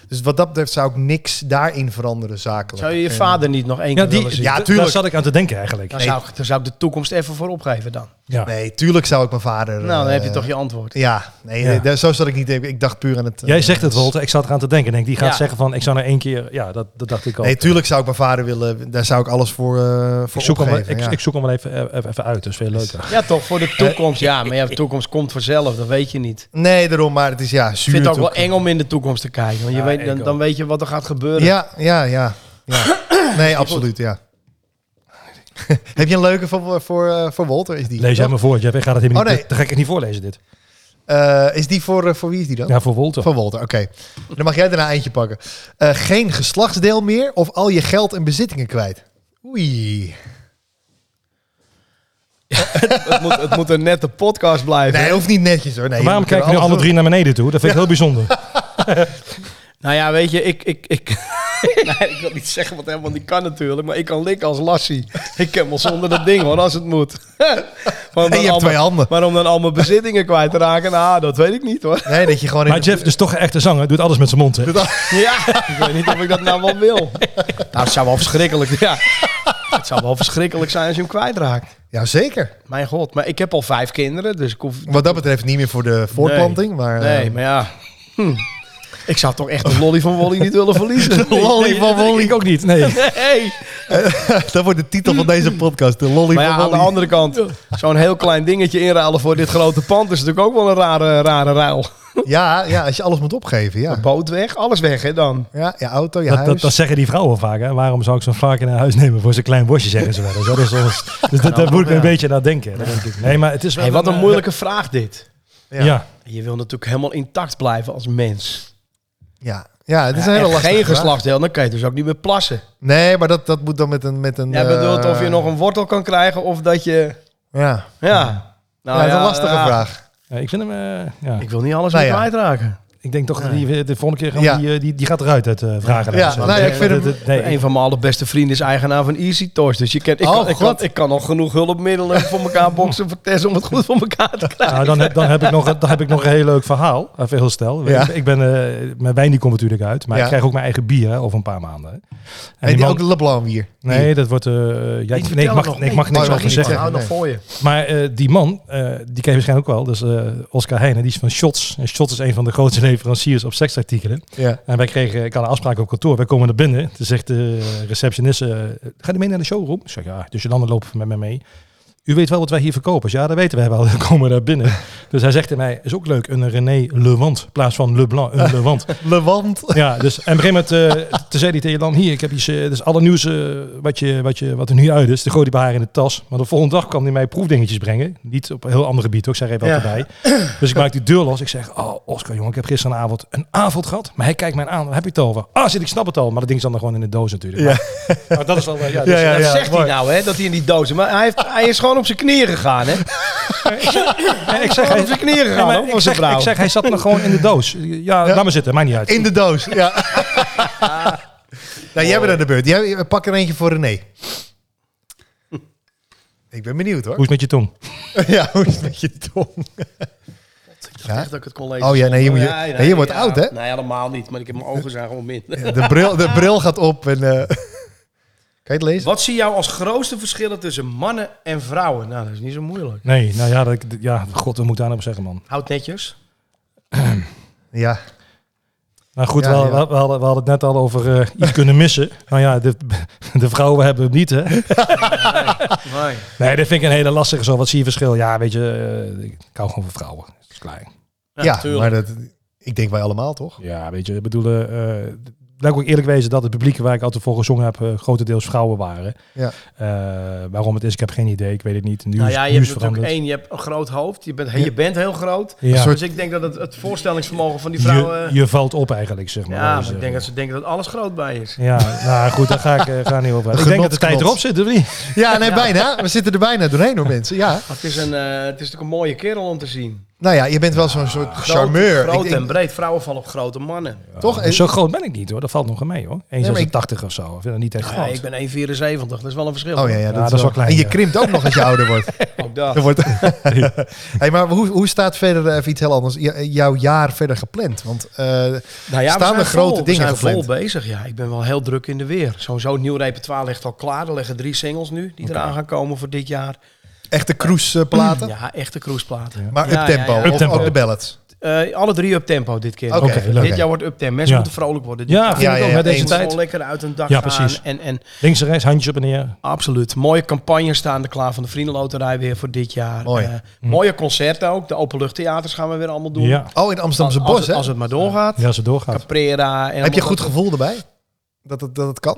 Speaker 1: dus wat dat betreft zou ik niks daarin veranderen zakelijk.
Speaker 4: Zou je je
Speaker 1: En-
Speaker 4: vader niet nog één keer
Speaker 3: Ja, die,
Speaker 4: willen zien?
Speaker 1: Ja,
Speaker 3: d- daar
Speaker 1: tuurlijk.
Speaker 3: zat ik aan te denken eigenlijk.
Speaker 4: Dan,
Speaker 1: nee.
Speaker 4: zou ik, dan zou ik de toekomst even voor opgeven dan.
Speaker 3: Ja.
Speaker 1: Nee, tuurlijk zou ik mijn vader...
Speaker 4: nou, dan heb je
Speaker 1: eh,
Speaker 4: toch je antwoord.
Speaker 1: Ja, nee,
Speaker 3: Ja.
Speaker 1: daar- zo zat ik niet. Ik dacht puur aan het... eh,
Speaker 3: Jij zegt het, Wolter. Ik zat eraan te denken. Ik Denk, die gaat
Speaker 4: Ja.
Speaker 3: zeggen van, ik zou nou één keer... Ja, dat, dat dacht ik al.
Speaker 1: Nee, tuurlijk zou ik mijn vader willen. Daar zou ik alles voor, eh voor
Speaker 3: ik, zoek hem, wel-
Speaker 1: opgeven.
Speaker 3: ik,
Speaker 1: ja.
Speaker 3: ik zoek hem wel even, eh, even, even uit. Dat is veel leuker.
Speaker 4: Ja, toch, voor de toekomst. Ja, maar ja, de toekomst komt vanzelf, dat weet je niet.
Speaker 1: Nee, daarom. Maar het is ja,
Speaker 4: Ik
Speaker 1: zuur.
Speaker 4: vind het ook wel
Speaker 1: natuurlijk.
Speaker 4: eng om in de toekomst te kijken. Want je
Speaker 3: Ja,
Speaker 4: weet, dan,
Speaker 3: ik
Speaker 4: dan
Speaker 3: ook.
Speaker 4: weet je wat er gaat gebeuren.
Speaker 1: Ja, ja, ja. ja. Nee, absoluut, ja. Heb je een leuke voor, voor, eh, voor Walter? Is die,
Speaker 3: Lees jij maar voor. Jij gaat het helemaal
Speaker 1: Oh,
Speaker 3: niet,
Speaker 1: nee.
Speaker 3: Dan ga ik het niet voorlezen, dit.
Speaker 1: Eh, is die voor, eh, voor wie is die dan?
Speaker 3: Ja, voor Wolter.
Speaker 1: Voor Walter, oké. Dan mag jij daarna eentje pakken. Eh, geen geslachtsdeel meer of al je geld en bezittingen kwijt? Oei.
Speaker 4: Het, moet, het moet een nette podcast blijven.
Speaker 1: Nee,
Speaker 4: hè?
Speaker 1: hoeft niet netjes hoor. Nee,
Speaker 3: Waarom
Speaker 1: we kunnen
Speaker 3: kijken nu alle
Speaker 1: alles
Speaker 3: drie naar beneden toe? Dat vind ik heel bijzonder.
Speaker 4: Nou ja, weet je, ik... ik, ik nee, ik wil niet zeggen wat helemaal niet kan natuurlijk. Maar ik kan likken als Lassie. Ik ken wel zonder dat ding, hoor, als het moet. maar, om
Speaker 1: doen. En
Speaker 4: dan
Speaker 1: je hebt
Speaker 4: allemaal,
Speaker 1: twee handen.
Speaker 4: maar om dan allemaal bezittingen kwijt te raken, nou, dat weet ik niet, hoor.
Speaker 1: Nee, dat je gewoon... in
Speaker 3: Maar
Speaker 1: de-
Speaker 3: Jeff is toch echt een zanger. Doet alles met zijn mond, hè?
Speaker 4: Ja, ik weet niet of ik dat nou wel wil. Nou, het zou wel verschrikkelijk, ja. Het zou wel verschrikkelijk zijn als je hem kwijtraakt.
Speaker 1: Ja, zeker.
Speaker 4: Mijn god, maar ik heb al vijf kinderen, dus ik hoef...
Speaker 1: Wat dat betreft niet meer voor de voortplanting, maar...
Speaker 4: Nee,
Speaker 1: eh,
Speaker 4: maar ja... Hm. Ik zou toch echt de lolly van Wolly niet willen verliezen.
Speaker 1: De lolly van Wally.
Speaker 3: Ik ook niet, nee.
Speaker 4: Nee.
Speaker 1: dat wordt de titel van deze podcast. De lolly
Speaker 4: Maar ja,
Speaker 1: van
Speaker 4: aan de
Speaker 1: Wally.
Speaker 4: andere kant, zo'n heel klein dingetje inruilen voor dit grote pand is natuurlijk ook wel een rare, rare ruil.
Speaker 1: Ja, ja, als je alles moet opgeven, ja.
Speaker 4: De boot weg, alles weg hè dan.
Speaker 1: Ja, je auto, je
Speaker 3: Dat,
Speaker 1: huis.
Speaker 3: dat, dat zeggen die vrouwen vaak. Hè? Waarom zou ik zo'n varken naar huis nemen voor zijn klein bosje, zeggen ze wel. eens. Dat is ons, dus dat, daar moet ik een beetje naar denken. Dat denk ik. Nee, maar het is wel...
Speaker 4: Hey, wat een
Speaker 3: eh,
Speaker 4: moeilijke vraag dit.
Speaker 3: Ja.
Speaker 4: Je wil natuurlijk helemaal intact blijven als mens.
Speaker 1: ja. ja, het is
Speaker 4: Ja,
Speaker 1: een
Speaker 4: en
Speaker 1: hele lastige
Speaker 4: geen
Speaker 1: vraag.
Speaker 4: geslachtsdeel, dan kan je dus ook niet meer plassen.
Speaker 1: Nee, maar dat, dat moet dan met een... Met een
Speaker 4: Jij bedoelt
Speaker 1: eh,
Speaker 4: of je nog een wortel kan krijgen of dat je...
Speaker 1: Ja,
Speaker 4: Ja, nou,
Speaker 1: ja, dat is een lastige
Speaker 4: ja.
Speaker 1: vraag.
Speaker 3: Ja, ik vind hem... eh, ja.
Speaker 4: Ik wil niet alles
Speaker 1: Nou
Speaker 4: meer
Speaker 1: ja.
Speaker 4: kwijtraken.
Speaker 3: Ik denk toch dat die de volgende keer gaan we
Speaker 1: Ja.
Speaker 3: die, eh, die, die gaat eruit uit eh vragen.
Speaker 1: Ja, nou ja, ik vind hem-
Speaker 3: nee,
Speaker 4: Een van mijn allerbeste vrienden is eigenaar van Easy Toys. Dus je kent, ik,
Speaker 1: Oh,
Speaker 4: kan, ik,
Speaker 1: God.
Speaker 4: kan, ik kan al genoeg hulpmiddelen voor elkaar boksen voor Tess om het goed voor elkaar te krijgen.
Speaker 3: nou, dan, heb- dan, heb ik nog, dan heb ik nog een heel leuk verhaal. Even heel stel.
Speaker 1: Ja.
Speaker 3: Ik, ik ben, eh, mijn wijn die komt natuurlijk uit. Maar
Speaker 1: Ja.
Speaker 3: ik krijg ook mijn eigen bier hè, over een paar maanden. hè. En
Speaker 1: En die
Speaker 3: man-
Speaker 1: ook de LeBlanc hier.
Speaker 3: Nee, dat wordt... eh, ja, ik- nee, ik mag, nee, ik mag niks
Speaker 1: mag
Speaker 3: over
Speaker 1: niet
Speaker 3: zeggen.
Speaker 1: zeggen,
Speaker 4: Nou, nog
Speaker 1: nee.
Speaker 4: voor je.
Speaker 3: Maar eh, die man, eh, die ken je waarschijnlijk ook wel. Dus eh, Oscar Heijnen, die is van Shots. En Shots is een van de grootste leveranciers op seksartikelen.
Speaker 1: Ja.
Speaker 3: En wij kregen, ik had een afspraak op kantoor. Wij komen naar binnen. Toen zegt de receptioniste, eh, ga je mee naar de showroom? Ik zeg, ja. Dus je dan loopt met mij mee. U weet wel wat wij hier verkopen. Ja, dat weten wij wel. We komen daar binnen. Dus hij zegt tegen mij, is ook leuk, een René Lewand. In plaats van Leblanc, een Lewand.
Speaker 1: Lewand.
Speaker 3: Ja, dus en op een gegeven moment eh, toen zei hij tegen Jan, hier, ik heb iets, eh, dus alle nieuws eh, wat, je, wat, je, wat er nu uit is, de gooide bij haar in de tas. Maar de volgende dag kwam hij mij proefdingetjes brengen. Niet op een heel ander gebied, ook ik zeg even wat
Speaker 1: Ja.
Speaker 3: erbij. Dus ik maak die deur los. Ik zeg, oh Oscar jongen, ik heb gisteravond een avond gehad. Maar hij kijkt mij aan, waar heb je het over? Ah, zit ik snap het al. Maar dat ding zat dan gewoon in de doos natuurlijk.
Speaker 1: Ja.
Speaker 3: Maar, maar dat is wel, eh, ja, dus-
Speaker 1: Ja, ja,
Speaker 4: dat
Speaker 1: ja,
Speaker 4: zegt
Speaker 1: mooi.
Speaker 4: hij nou, hè, dat hij in die dozen. Maar hij, heeft, hij is gewoon op zijn knieën gegaan, hè?
Speaker 3: Nee, ik zeg, hij,
Speaker 4: op zijn knieën
Speaker 3: Nee,
Speaker 4: gegaan,
Speaker 3: maar
Speaker 4: hoor,
Speaker 3: ik,
Speaker 4: voor zijn
Speaker 3: zeg,
Speaker 4: vrouw.
Speaker 3: ik zeg, hij zat nog gewoon in de doos. Ja, laat maar zitten, maakt niet uit.
Speaker 1: In de doos, ja. nou, jij bent aan de beurt. Jij, pak er eentje voor René. Ik ben benieuwd hoor.
Speaker 3: Hoe is het met je tong?
Speaker 1: Ja, hoe is het met je tong? Ja.
Speaker 4: Echt dat ik het kon lezen.
Speaker 1: Oh ja, nee, je, moet je, nee, je wordt
Speaker 4: ja.
Speaker 1: oud hè?
Speaker 4: Nee, helemaal niet. Maar ik heb mijn ogen zijn gewoon minder.
Speaker 1: Ja, De bril, de bril gaat op en... eh, kan je het lezen?
Speaker 4: Wat zie jou als grootste verschillen tussen mannen en vrouwen? Nou, dat is niet zo moeilijk.
Speaker 3: Nee, nou ja, dat, ja god, we moeten daar nou op zeggen, man.
Speaker 4: Houd netjes.
Speaker 1: Ja.
Speaker 3: Nou goed,
Speaker 1: Ja,
Speaker 3: we,
Speaker 1: ja.
Speaker 3: we- we hadden, we hadden het net al over eh, iets kunnen missen. Nou ja, de, de vrouwen hebben het niet, hè?
Speaker 4: Nee.
Speaker 3: Nee, dat vind ik een hele lastige zo. Wat zie je verschil? Ja, weet je, eh, ik hou gewoon van vrouwen. Dat is klaar.
Speaker 1: Ja, maar dat, ik denk wij allemaal toch?
Speaker 3: Ja, weet je, ik bedoel, eh, laat ik ook eerlijk wezen dat het publiek waar ik altijd voor gezongen heb, eh, grotendeels vrouwen waren.
Speaker 1: Ja.
Speaker 3: Eh, waarom het is, ik heb geen idee. Ik weet het niet. Nu is-
Speaker 4: Nou ja,
Speaker 3: nu
Speaker 4: je
Speaker 3: is
Speaker 4: hebt
Speaker 3: veranderd.
Speaker 4: natuurlijk één, je hebt een groot hoofd. Je bent, je bent heel groot.
Speaker 3: Ja.
Speaker 4: Dus ik denk dat het, het voorstellingsvermogen van die vrouwen...
Speaker 3: je, je valt op eigenlijk, zeg maar.
Speaker 4: ja,
Speaker 3: Dus,
Speaker 4: maar ik
Speaker 3: eh,
Speaker 4: denk dat ze denken dat alles groot bij is.
Speaker 3: Ja, nou goed, daar ga ik eh, ga niet over. uit. Ik denk dat de tijd
Speaker 1: Genotsknot.
Speaker 3: erop zit, of niet?
Speaker 1: Ja, nee, bijna. We zitten er bijna doorheen hoor, mensen. Ja.
Speaker 4: Maar het is, een, eh, het is natuurlijk een mooie kerel om te zien.
Speaker 1: Nou ja, je bent wel zo'n soort charmeur.
Speaker 4: Groot, groot
Speaker 1: Ik denk-
Speaker 4: en breed. Vrouwen vallen op grote mannen.
Speaker 1: Toch?
Speaker 3: Ja, zo groot ben ik niet hoor, dat valt nog wel mee hoor. 1,86
Speaker 1: maar ik-
Speaker 3: of zo, ik vind dat niet echt groot.
Speaker 4: Ja, ik ben 1,74. Dat is wel een verschil.
Speaker 1: Oh ja, ja,
Speaker 3: dat is wel klein,
Speaker 1: En je
Speaker 3: ja.
Speaker 1: krimpt ook nog als je ouder wordt.
Speaker 4: Ook dat.
Speaker 1: Dan wordt... hey, maar hoe, hoe staat verder, eh, even iets heel anders, j- jouw jaar verder gepland? Want eh,
Speaker 4: Nou ja, we
Speaker 1: Staan
Speaker 4: zijn
Speaker 1: er grote
Speaker 4: vol,
Speaker 1: dingen
Speaker 4: We zijn
Speaker 1: gepland?
Speaker 4: vol bezig, ja. Ik ben wel heel druk in de weer. Sowieso, het nieuw repertoire ligt al klaar. Er liggen drie singles nu die eraan gaan komen voor dit jaar.
Speaker 1: echte cruiseplaten,
Speaker 4: Ja, echte cruiseplaten.
Speaker 1: maar
Speaker 4: Ja,
Speaker 1: uptempo,
Speaker 4: ja, ja.
Speaker 1: of
Speaker 3: Uptempo.
Speaker 1: ook de ballads.
Speaker 4: Eh, alle drie up tempo dit keer.
Speaker 1: Oké,
Speaker 3: Oké, leuk.
Speaker 4: Dit jaar wordt up tempo. Mensen
Speaker 3: Ja.
Speaker 4: moeten vrolijk worden. Dit
Speaker 3: ja,
Speaker 4: jaar.
Speaker 3: vind
Speaker 1: Ja,
Speaker 3: ik
Speaker 1: ja,
Speaker 3: ook
Speaker 1: ja,
Speaker 3: met deze
Speaker 1: eens.
Speaker 4: Mensen moeten
Speaker 3: tijd.
Speaker 4: lekker uit hun dak
Speaker 3: Ja,
Speaker 4: gaan.
Speaker 3: precies.
Speaker 4: En, en
Speaker 3: Links en rechts, handjes op en neer.
Speaker 4: absoluut. Mooie campagnes staan er klaar van de Vriendenloterij weer voor dit jaar.
Speaker 1: Mooi.
Speaker 4: Eh, Mooie concerten ook. De openluchttheaters gaan we weer allemaal doen.
Speaker 3: Hm. Ja,
Speaker 1: Oh, in het Amsterdamse
Speaker 4: als,
Speaker 1: Bos,
Speaker 4: het,
Speaker 1: hè?
Speaker 4: als het maar doorgaat.
Speaker 3: ja als het doorgaat.
Speaker 4: Caprera. En
Speaker 1: Heb je
Speaker 4: allemaal
Speaker 1: goed
Speaker 4: dat-
Speaker 1: gevoel erbij? Dat het, dat het kan?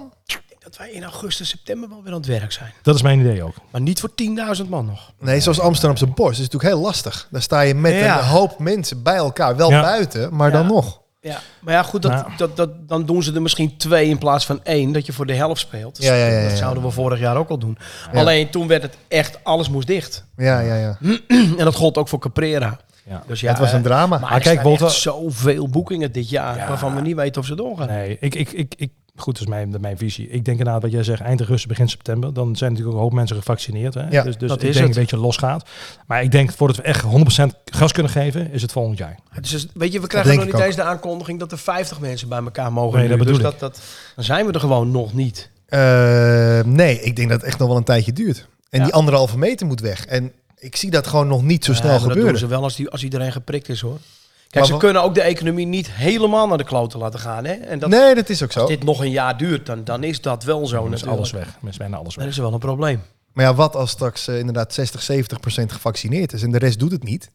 Speaker 4: Dat wij in augustus, september wel weer aan het werk zijn.
Speaker 3: Dat is mijn idee ook.
Speaker 4: Maar niet voor 10.000 man nog.
Speaker 1: Nee, zoals Amsterdamse Bos is natuurlijk heel lastig. Daar sta je met
Speaker 4: Ja.
Speaker 1: een hoop mensen bij elkaar. Wel
Speaker 3: Ja.
Speaker 1: buiten, maar
Speaker 4: Ja.
Speaker 1: dan nog.
Speaker 4: Ja, maar ja, goed, dat,
Speaker 3: Nou.
Speaker 4: dat, dat, dan doen ze er misschien twee in plaats van één, dat je voor de helft speelt. Dus
Speaker 1: Ja, ja, ja, ja.
Speaker 4: Dat zouden we vorig jaar ook al doen. Alleen toen werd het echt, alles moest dicht.
Speaker 1: Ja, ja, ja.
Speaker 4: En dat gold ook voor Caprera.
Speaker 3: Ja.
Speaker 4: Dus ja,
Speaker 1: het was een
Speaker 4: eh,
Speaker 1: drama.
Speaker 4: Maar,
Speaker 3: Maar
Speaker 4: er
Speaker 3: Ah, kijk,
Speaker 4: kijk,
Speaker 3: Bolt-
Speaker 4: echt zoveel boekingen dit jaar,
Speaker 3: Ja.
Speaker 4: waarvan we niet weten of ze doorgaan.
Speaker 3: Nee, ik, ik, ik, ik, goed, dat is mijn, mijn visie. Ik denk inderdaad wat jij zegt, eind augustus, begin september. Dan zijn natuurlijk ook een hoop mensen gevaccineerd. Hè?
Speaker 1: Ja,
Speaker 3: dus dus
Speaker 4: dat
Speaker 3: ik
Speaker 4: is
Speaker 3: denk
Speaker 4: het.
Speaker 3: een beetje losgaat. Maar ik denk voordat we echt 100% gas kunnen geven, is het volgend jaar.
Speaker 4: Dus is- weet je, we krijgen
Speaker 1: denk
Speaker 4: nog
Speaker 1: ik
Speaker 4: niet
Speaker 1: ook.
Speaker 4: eens de aankondiging dat er 50 mensen bij elkaar mogen.
Speaker 3: Nee, dat
Speaker 4: nu. dus
Speaker 3: bedoel
Speaker 4: dat, dat, dan zijn we er gewoon nog niet.
Speaker 1: Eh, nee, ik denk dat het echt nog wel een tijdje duurt. En
Speaker 4: Ja.
Speaker 1: die anderhalve meter moet weg. En ik zie dat gewoon nog niet zo
Speaker 4: Ja,
Speaker 1: snel
Speaker 4: Eh, maar Dat
Speaker 1: gebeuren.
Speaker 4: doen ze wel als, die, als iedereen geprikt is hoor.
Speaker 1: Maar
Speaker 4: Kijk, ze
Speaker 1: wat-
Speaker 4: kunnen ook de economie niet helemaal naar de kloten laten gaan. Hè? En dat,
Speaker 1: nee, dat is ook zo.
Speaker 4: Als dit nog een jaar duurt, dan, dan is dat wel zo.
Speaker 3: Dan is
Speaker 4: natuurlijk.
Speaker 3: alles weg. Dan is bijna alles
Speaker 4: Dan
Speaker 3: weg.
Speaker 4: is er wel een probleem.
Speaker 1: Maar ja, wat als straks eh, inderdaad 60, 70 procent gevaccineerd is en de rest doet het niet?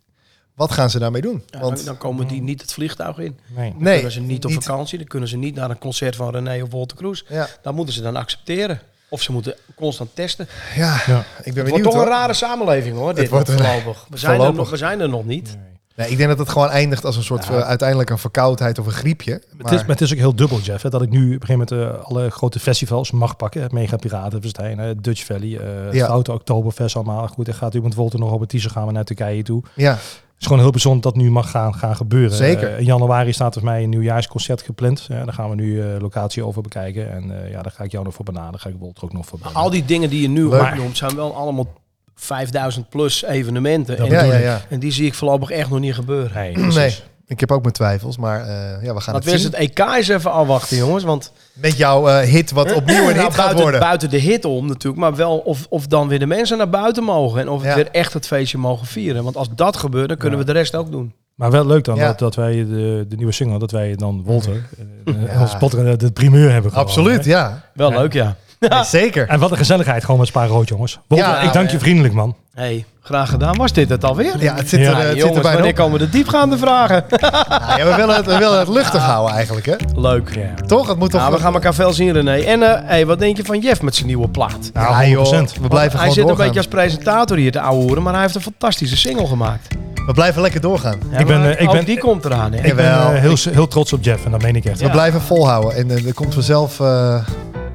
Speaker 1: Wat gaan ze daarmee doen?
Speaker 4: Ja,
Speaker 1: Want Mm.
Speaker 4: dan, dan komen die niet het vliegtuig in. Dan
Speaker 3: Nee.
Speaker 1: nee,
Speaker 4: kunnen ze niet op vakantie. Dan kunnen ze niet naar een concert van René of Walter Kroes.
Speaker 1: Ja,
Speaker 4: Dat moeten ze dan accepteren. Of ze moeten constant testen.
Speaker 1: ja,
Speaker 3: Ja.
Speaker 1: ik ben
Speaker 4: Het wordt
Speaker 1: benieuwd
Speaker 4: toch een
Speaker 1: hoor.
Speaker 4: rare samenleving hoor. Dit
Speaker 1: wordt
Speaker 4: wordt
Speaker 1: een-
Speaker 4: voorlopig. We zijn, er
Speaker 1: voorlopig.
Speaker 4: nog, we zijn er nog niet.
Speaker 1: Nee, ik denk dat het gewoon eindigt als een soort eh, uiteindelijk een verkoudheid of een griepje.
Speaker 3: Het, is, maar het is ook heel dubbel, Jeff. Hè, dat ik nu op een gegeven moment eh, alle grote festivals mag pakken. Het Mega Piratenfestijn, eh, Dutch Valley, eh het
Speaker 1: Ja.
Speaker 3: Grote Oktoberfest allemaal. Goed, en gaat u met Wolter nog op het Tiezen gaan we naar Turkije toe.
Speaker 1: ja,
Speaker 3: Het is gewoon heel bijzonder dat nu mag gaan, gaan gebeuren.
Speaker 1: Zeker.
Speaker 3: Eh, in januari staat voor mij een nieuwjaarsconcert gepland. Ja, daar gaan we nu eh, locatie over bekijken. En eh, ja, daar ga ik jou nog voor benaderen. Daar ga ik Wolter ook nog voor benaderen.
Speaker 4: Al die dingen die je nu
Speaker 1: Leuk.
Speaker 4: opnoemt zijn wel allemaal 5000 plus evenementen.
Speaker 3: Dat
Speaker 4: En,
Speaker 1: ja,
Speaker 3: bedoel
Speaker 1: ja,
Speaker 3: ik.
Speaker 1: ja.
Speaker 4: en die zie ik voorlopig echt nog niet gebeuren.
Speaker 3: Nee,
Speaker 1: Nee,
Speaker 3: precies.
Speaker 1: ik heb ook mijn tafels, maar eh, ja, we gaan
Speaker 4: Dat
Speaker 1: het
Speaker 4: wist
Speaker 1: zien.
Speaker 4: het EK eens even afwachten jongens. Want
Speaker 1: Met jouw eh, hit wat opnieuw een
Speaker 4: Nou,
Speaker 1: hit gaat
Speaker 4: buiten,
Speaker 1: worden.
Speaker 4: buiten de hit om natuurlijk, maar wel of, of dan weer de mensen naar buiten mogen. En of we
Speaker 1: Ja.
Speaker 4: weer echt het feestje mogen vieren. Want als dat gebeurt, dan kunnen
Speaker 3: Ja.
Speaker 4: we de rest ook doen.
Speaker 3: Maar wel leuk dan
Speaker 1: Ja.
Speaker 3: dat, dat wij de, de nieuwe single, dat wij dan Wolter, eh,
Speaker 1: Ja.
Speaker 3: als potter, eh, de primeur hebben gewoon,
Speaker 1: Absoluut,
Speaker 3: hè.
Speaker 1: ja.
Speaker 4: Wel
Speaker 3: Ja.
Speaker 4: leuk, ja.
Speaker 1: Nee, zeker.
Speaker 3: En wat een gezelligheid gewoon met Spa Rood, jongens. Wolter,
Speaker 1: Ja, eh,
Speaker 3: ik dank je
Speaker 4: ja.
Speaker 3: vriendelijk, man.
Speaker 4: hey, graag gedaan. Was dit het alweer?
Speaker 1: Ja, het zit er,
Speaker 3: Ja,
Speaker 1: eh,
Speaker 4: Nou,
Speaker 1: het zit
Speaker 4: jongens,
Speaker 1: er bijna
Speaker 4: wanneer
Speaker 1: op.
Speaker 4: komen de diepgaande vragen?
Speaker 1: Ah, ja, we, willen het, we willen het luchtig houden eigenlijk, hè?
Speaker 4: leuk.
Speaker 3: Ja.
Speaker 1: Toch? Het moet toch...
Speaker 4: Nou, we gaan elkaar veel zien, René. En eh, hey, wat denk je van Jeff met zijn nieuwe plaat?
Speaker 1: Ja,
Speaker 3: Ja,
Speaker 1: Nou, joh,
Speaker 3: 100%.
Speaker 1: we blijven
Speaker 4: hij
Speaker 1: gewoon
Speaker 4: zit een beetje
Speaker 1: doorgaan.
Speaker 4: als presentator hier te ouwehoeren, maar hij heeft een fantastische single gemaakt.
Speaker 1: We blijven lekker doorgaan.
Speaker 4: Ja,
Speaker 3: Ik ben,
Speaker 4: maar
Speaker 3: eh, ik
Speaker 4: ook
Speaker 3: ben-
Speaker 4: die komt eraan, hè?
Speaker 3: Ik ben
Speaker 1: Jawel.
Speaker 3: eh, heel, heel trots op Jeff en dat meen ik echt.
Speaker 1: We blijven volhouden. En eh, er komt vanzelf eh,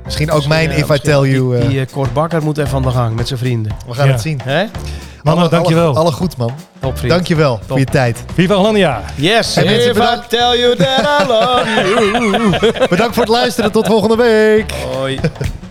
Speaker 1: misschien ook mijn
Speaker 4: Ja,
Speaker 1: If I
Speaker 4: misschien
Speaker 1: Tell You. eh,
Speaker 4: Die, die eh, Cor Bakker moet even aan de gang met zijn vrienden.
Speaker 1: we gaan
Speaker 3: Ja.
Speaker 1: het zien.
Speaker 4: Hè?
Speaker 3: Mannen,
Speaker 1: Alle-
Speaker 3: dankjewel.
Speaker 1: Alle, alle goed, man.
Speaker 4: Top vriend.
Speaker 1: Dankjewel voor je tijd.
Speaker 3: Viva Hollandia!
Speaker 4: Yes,
Speaker 1: Hey, mensen,
Speaker 4: if I
Speaker 1: bedankt.
Speaker 4: tell you that I love you.
Speaker 1: Bedankt voor het luisteren. Tot volgende week.
Speaker 4: Hoi.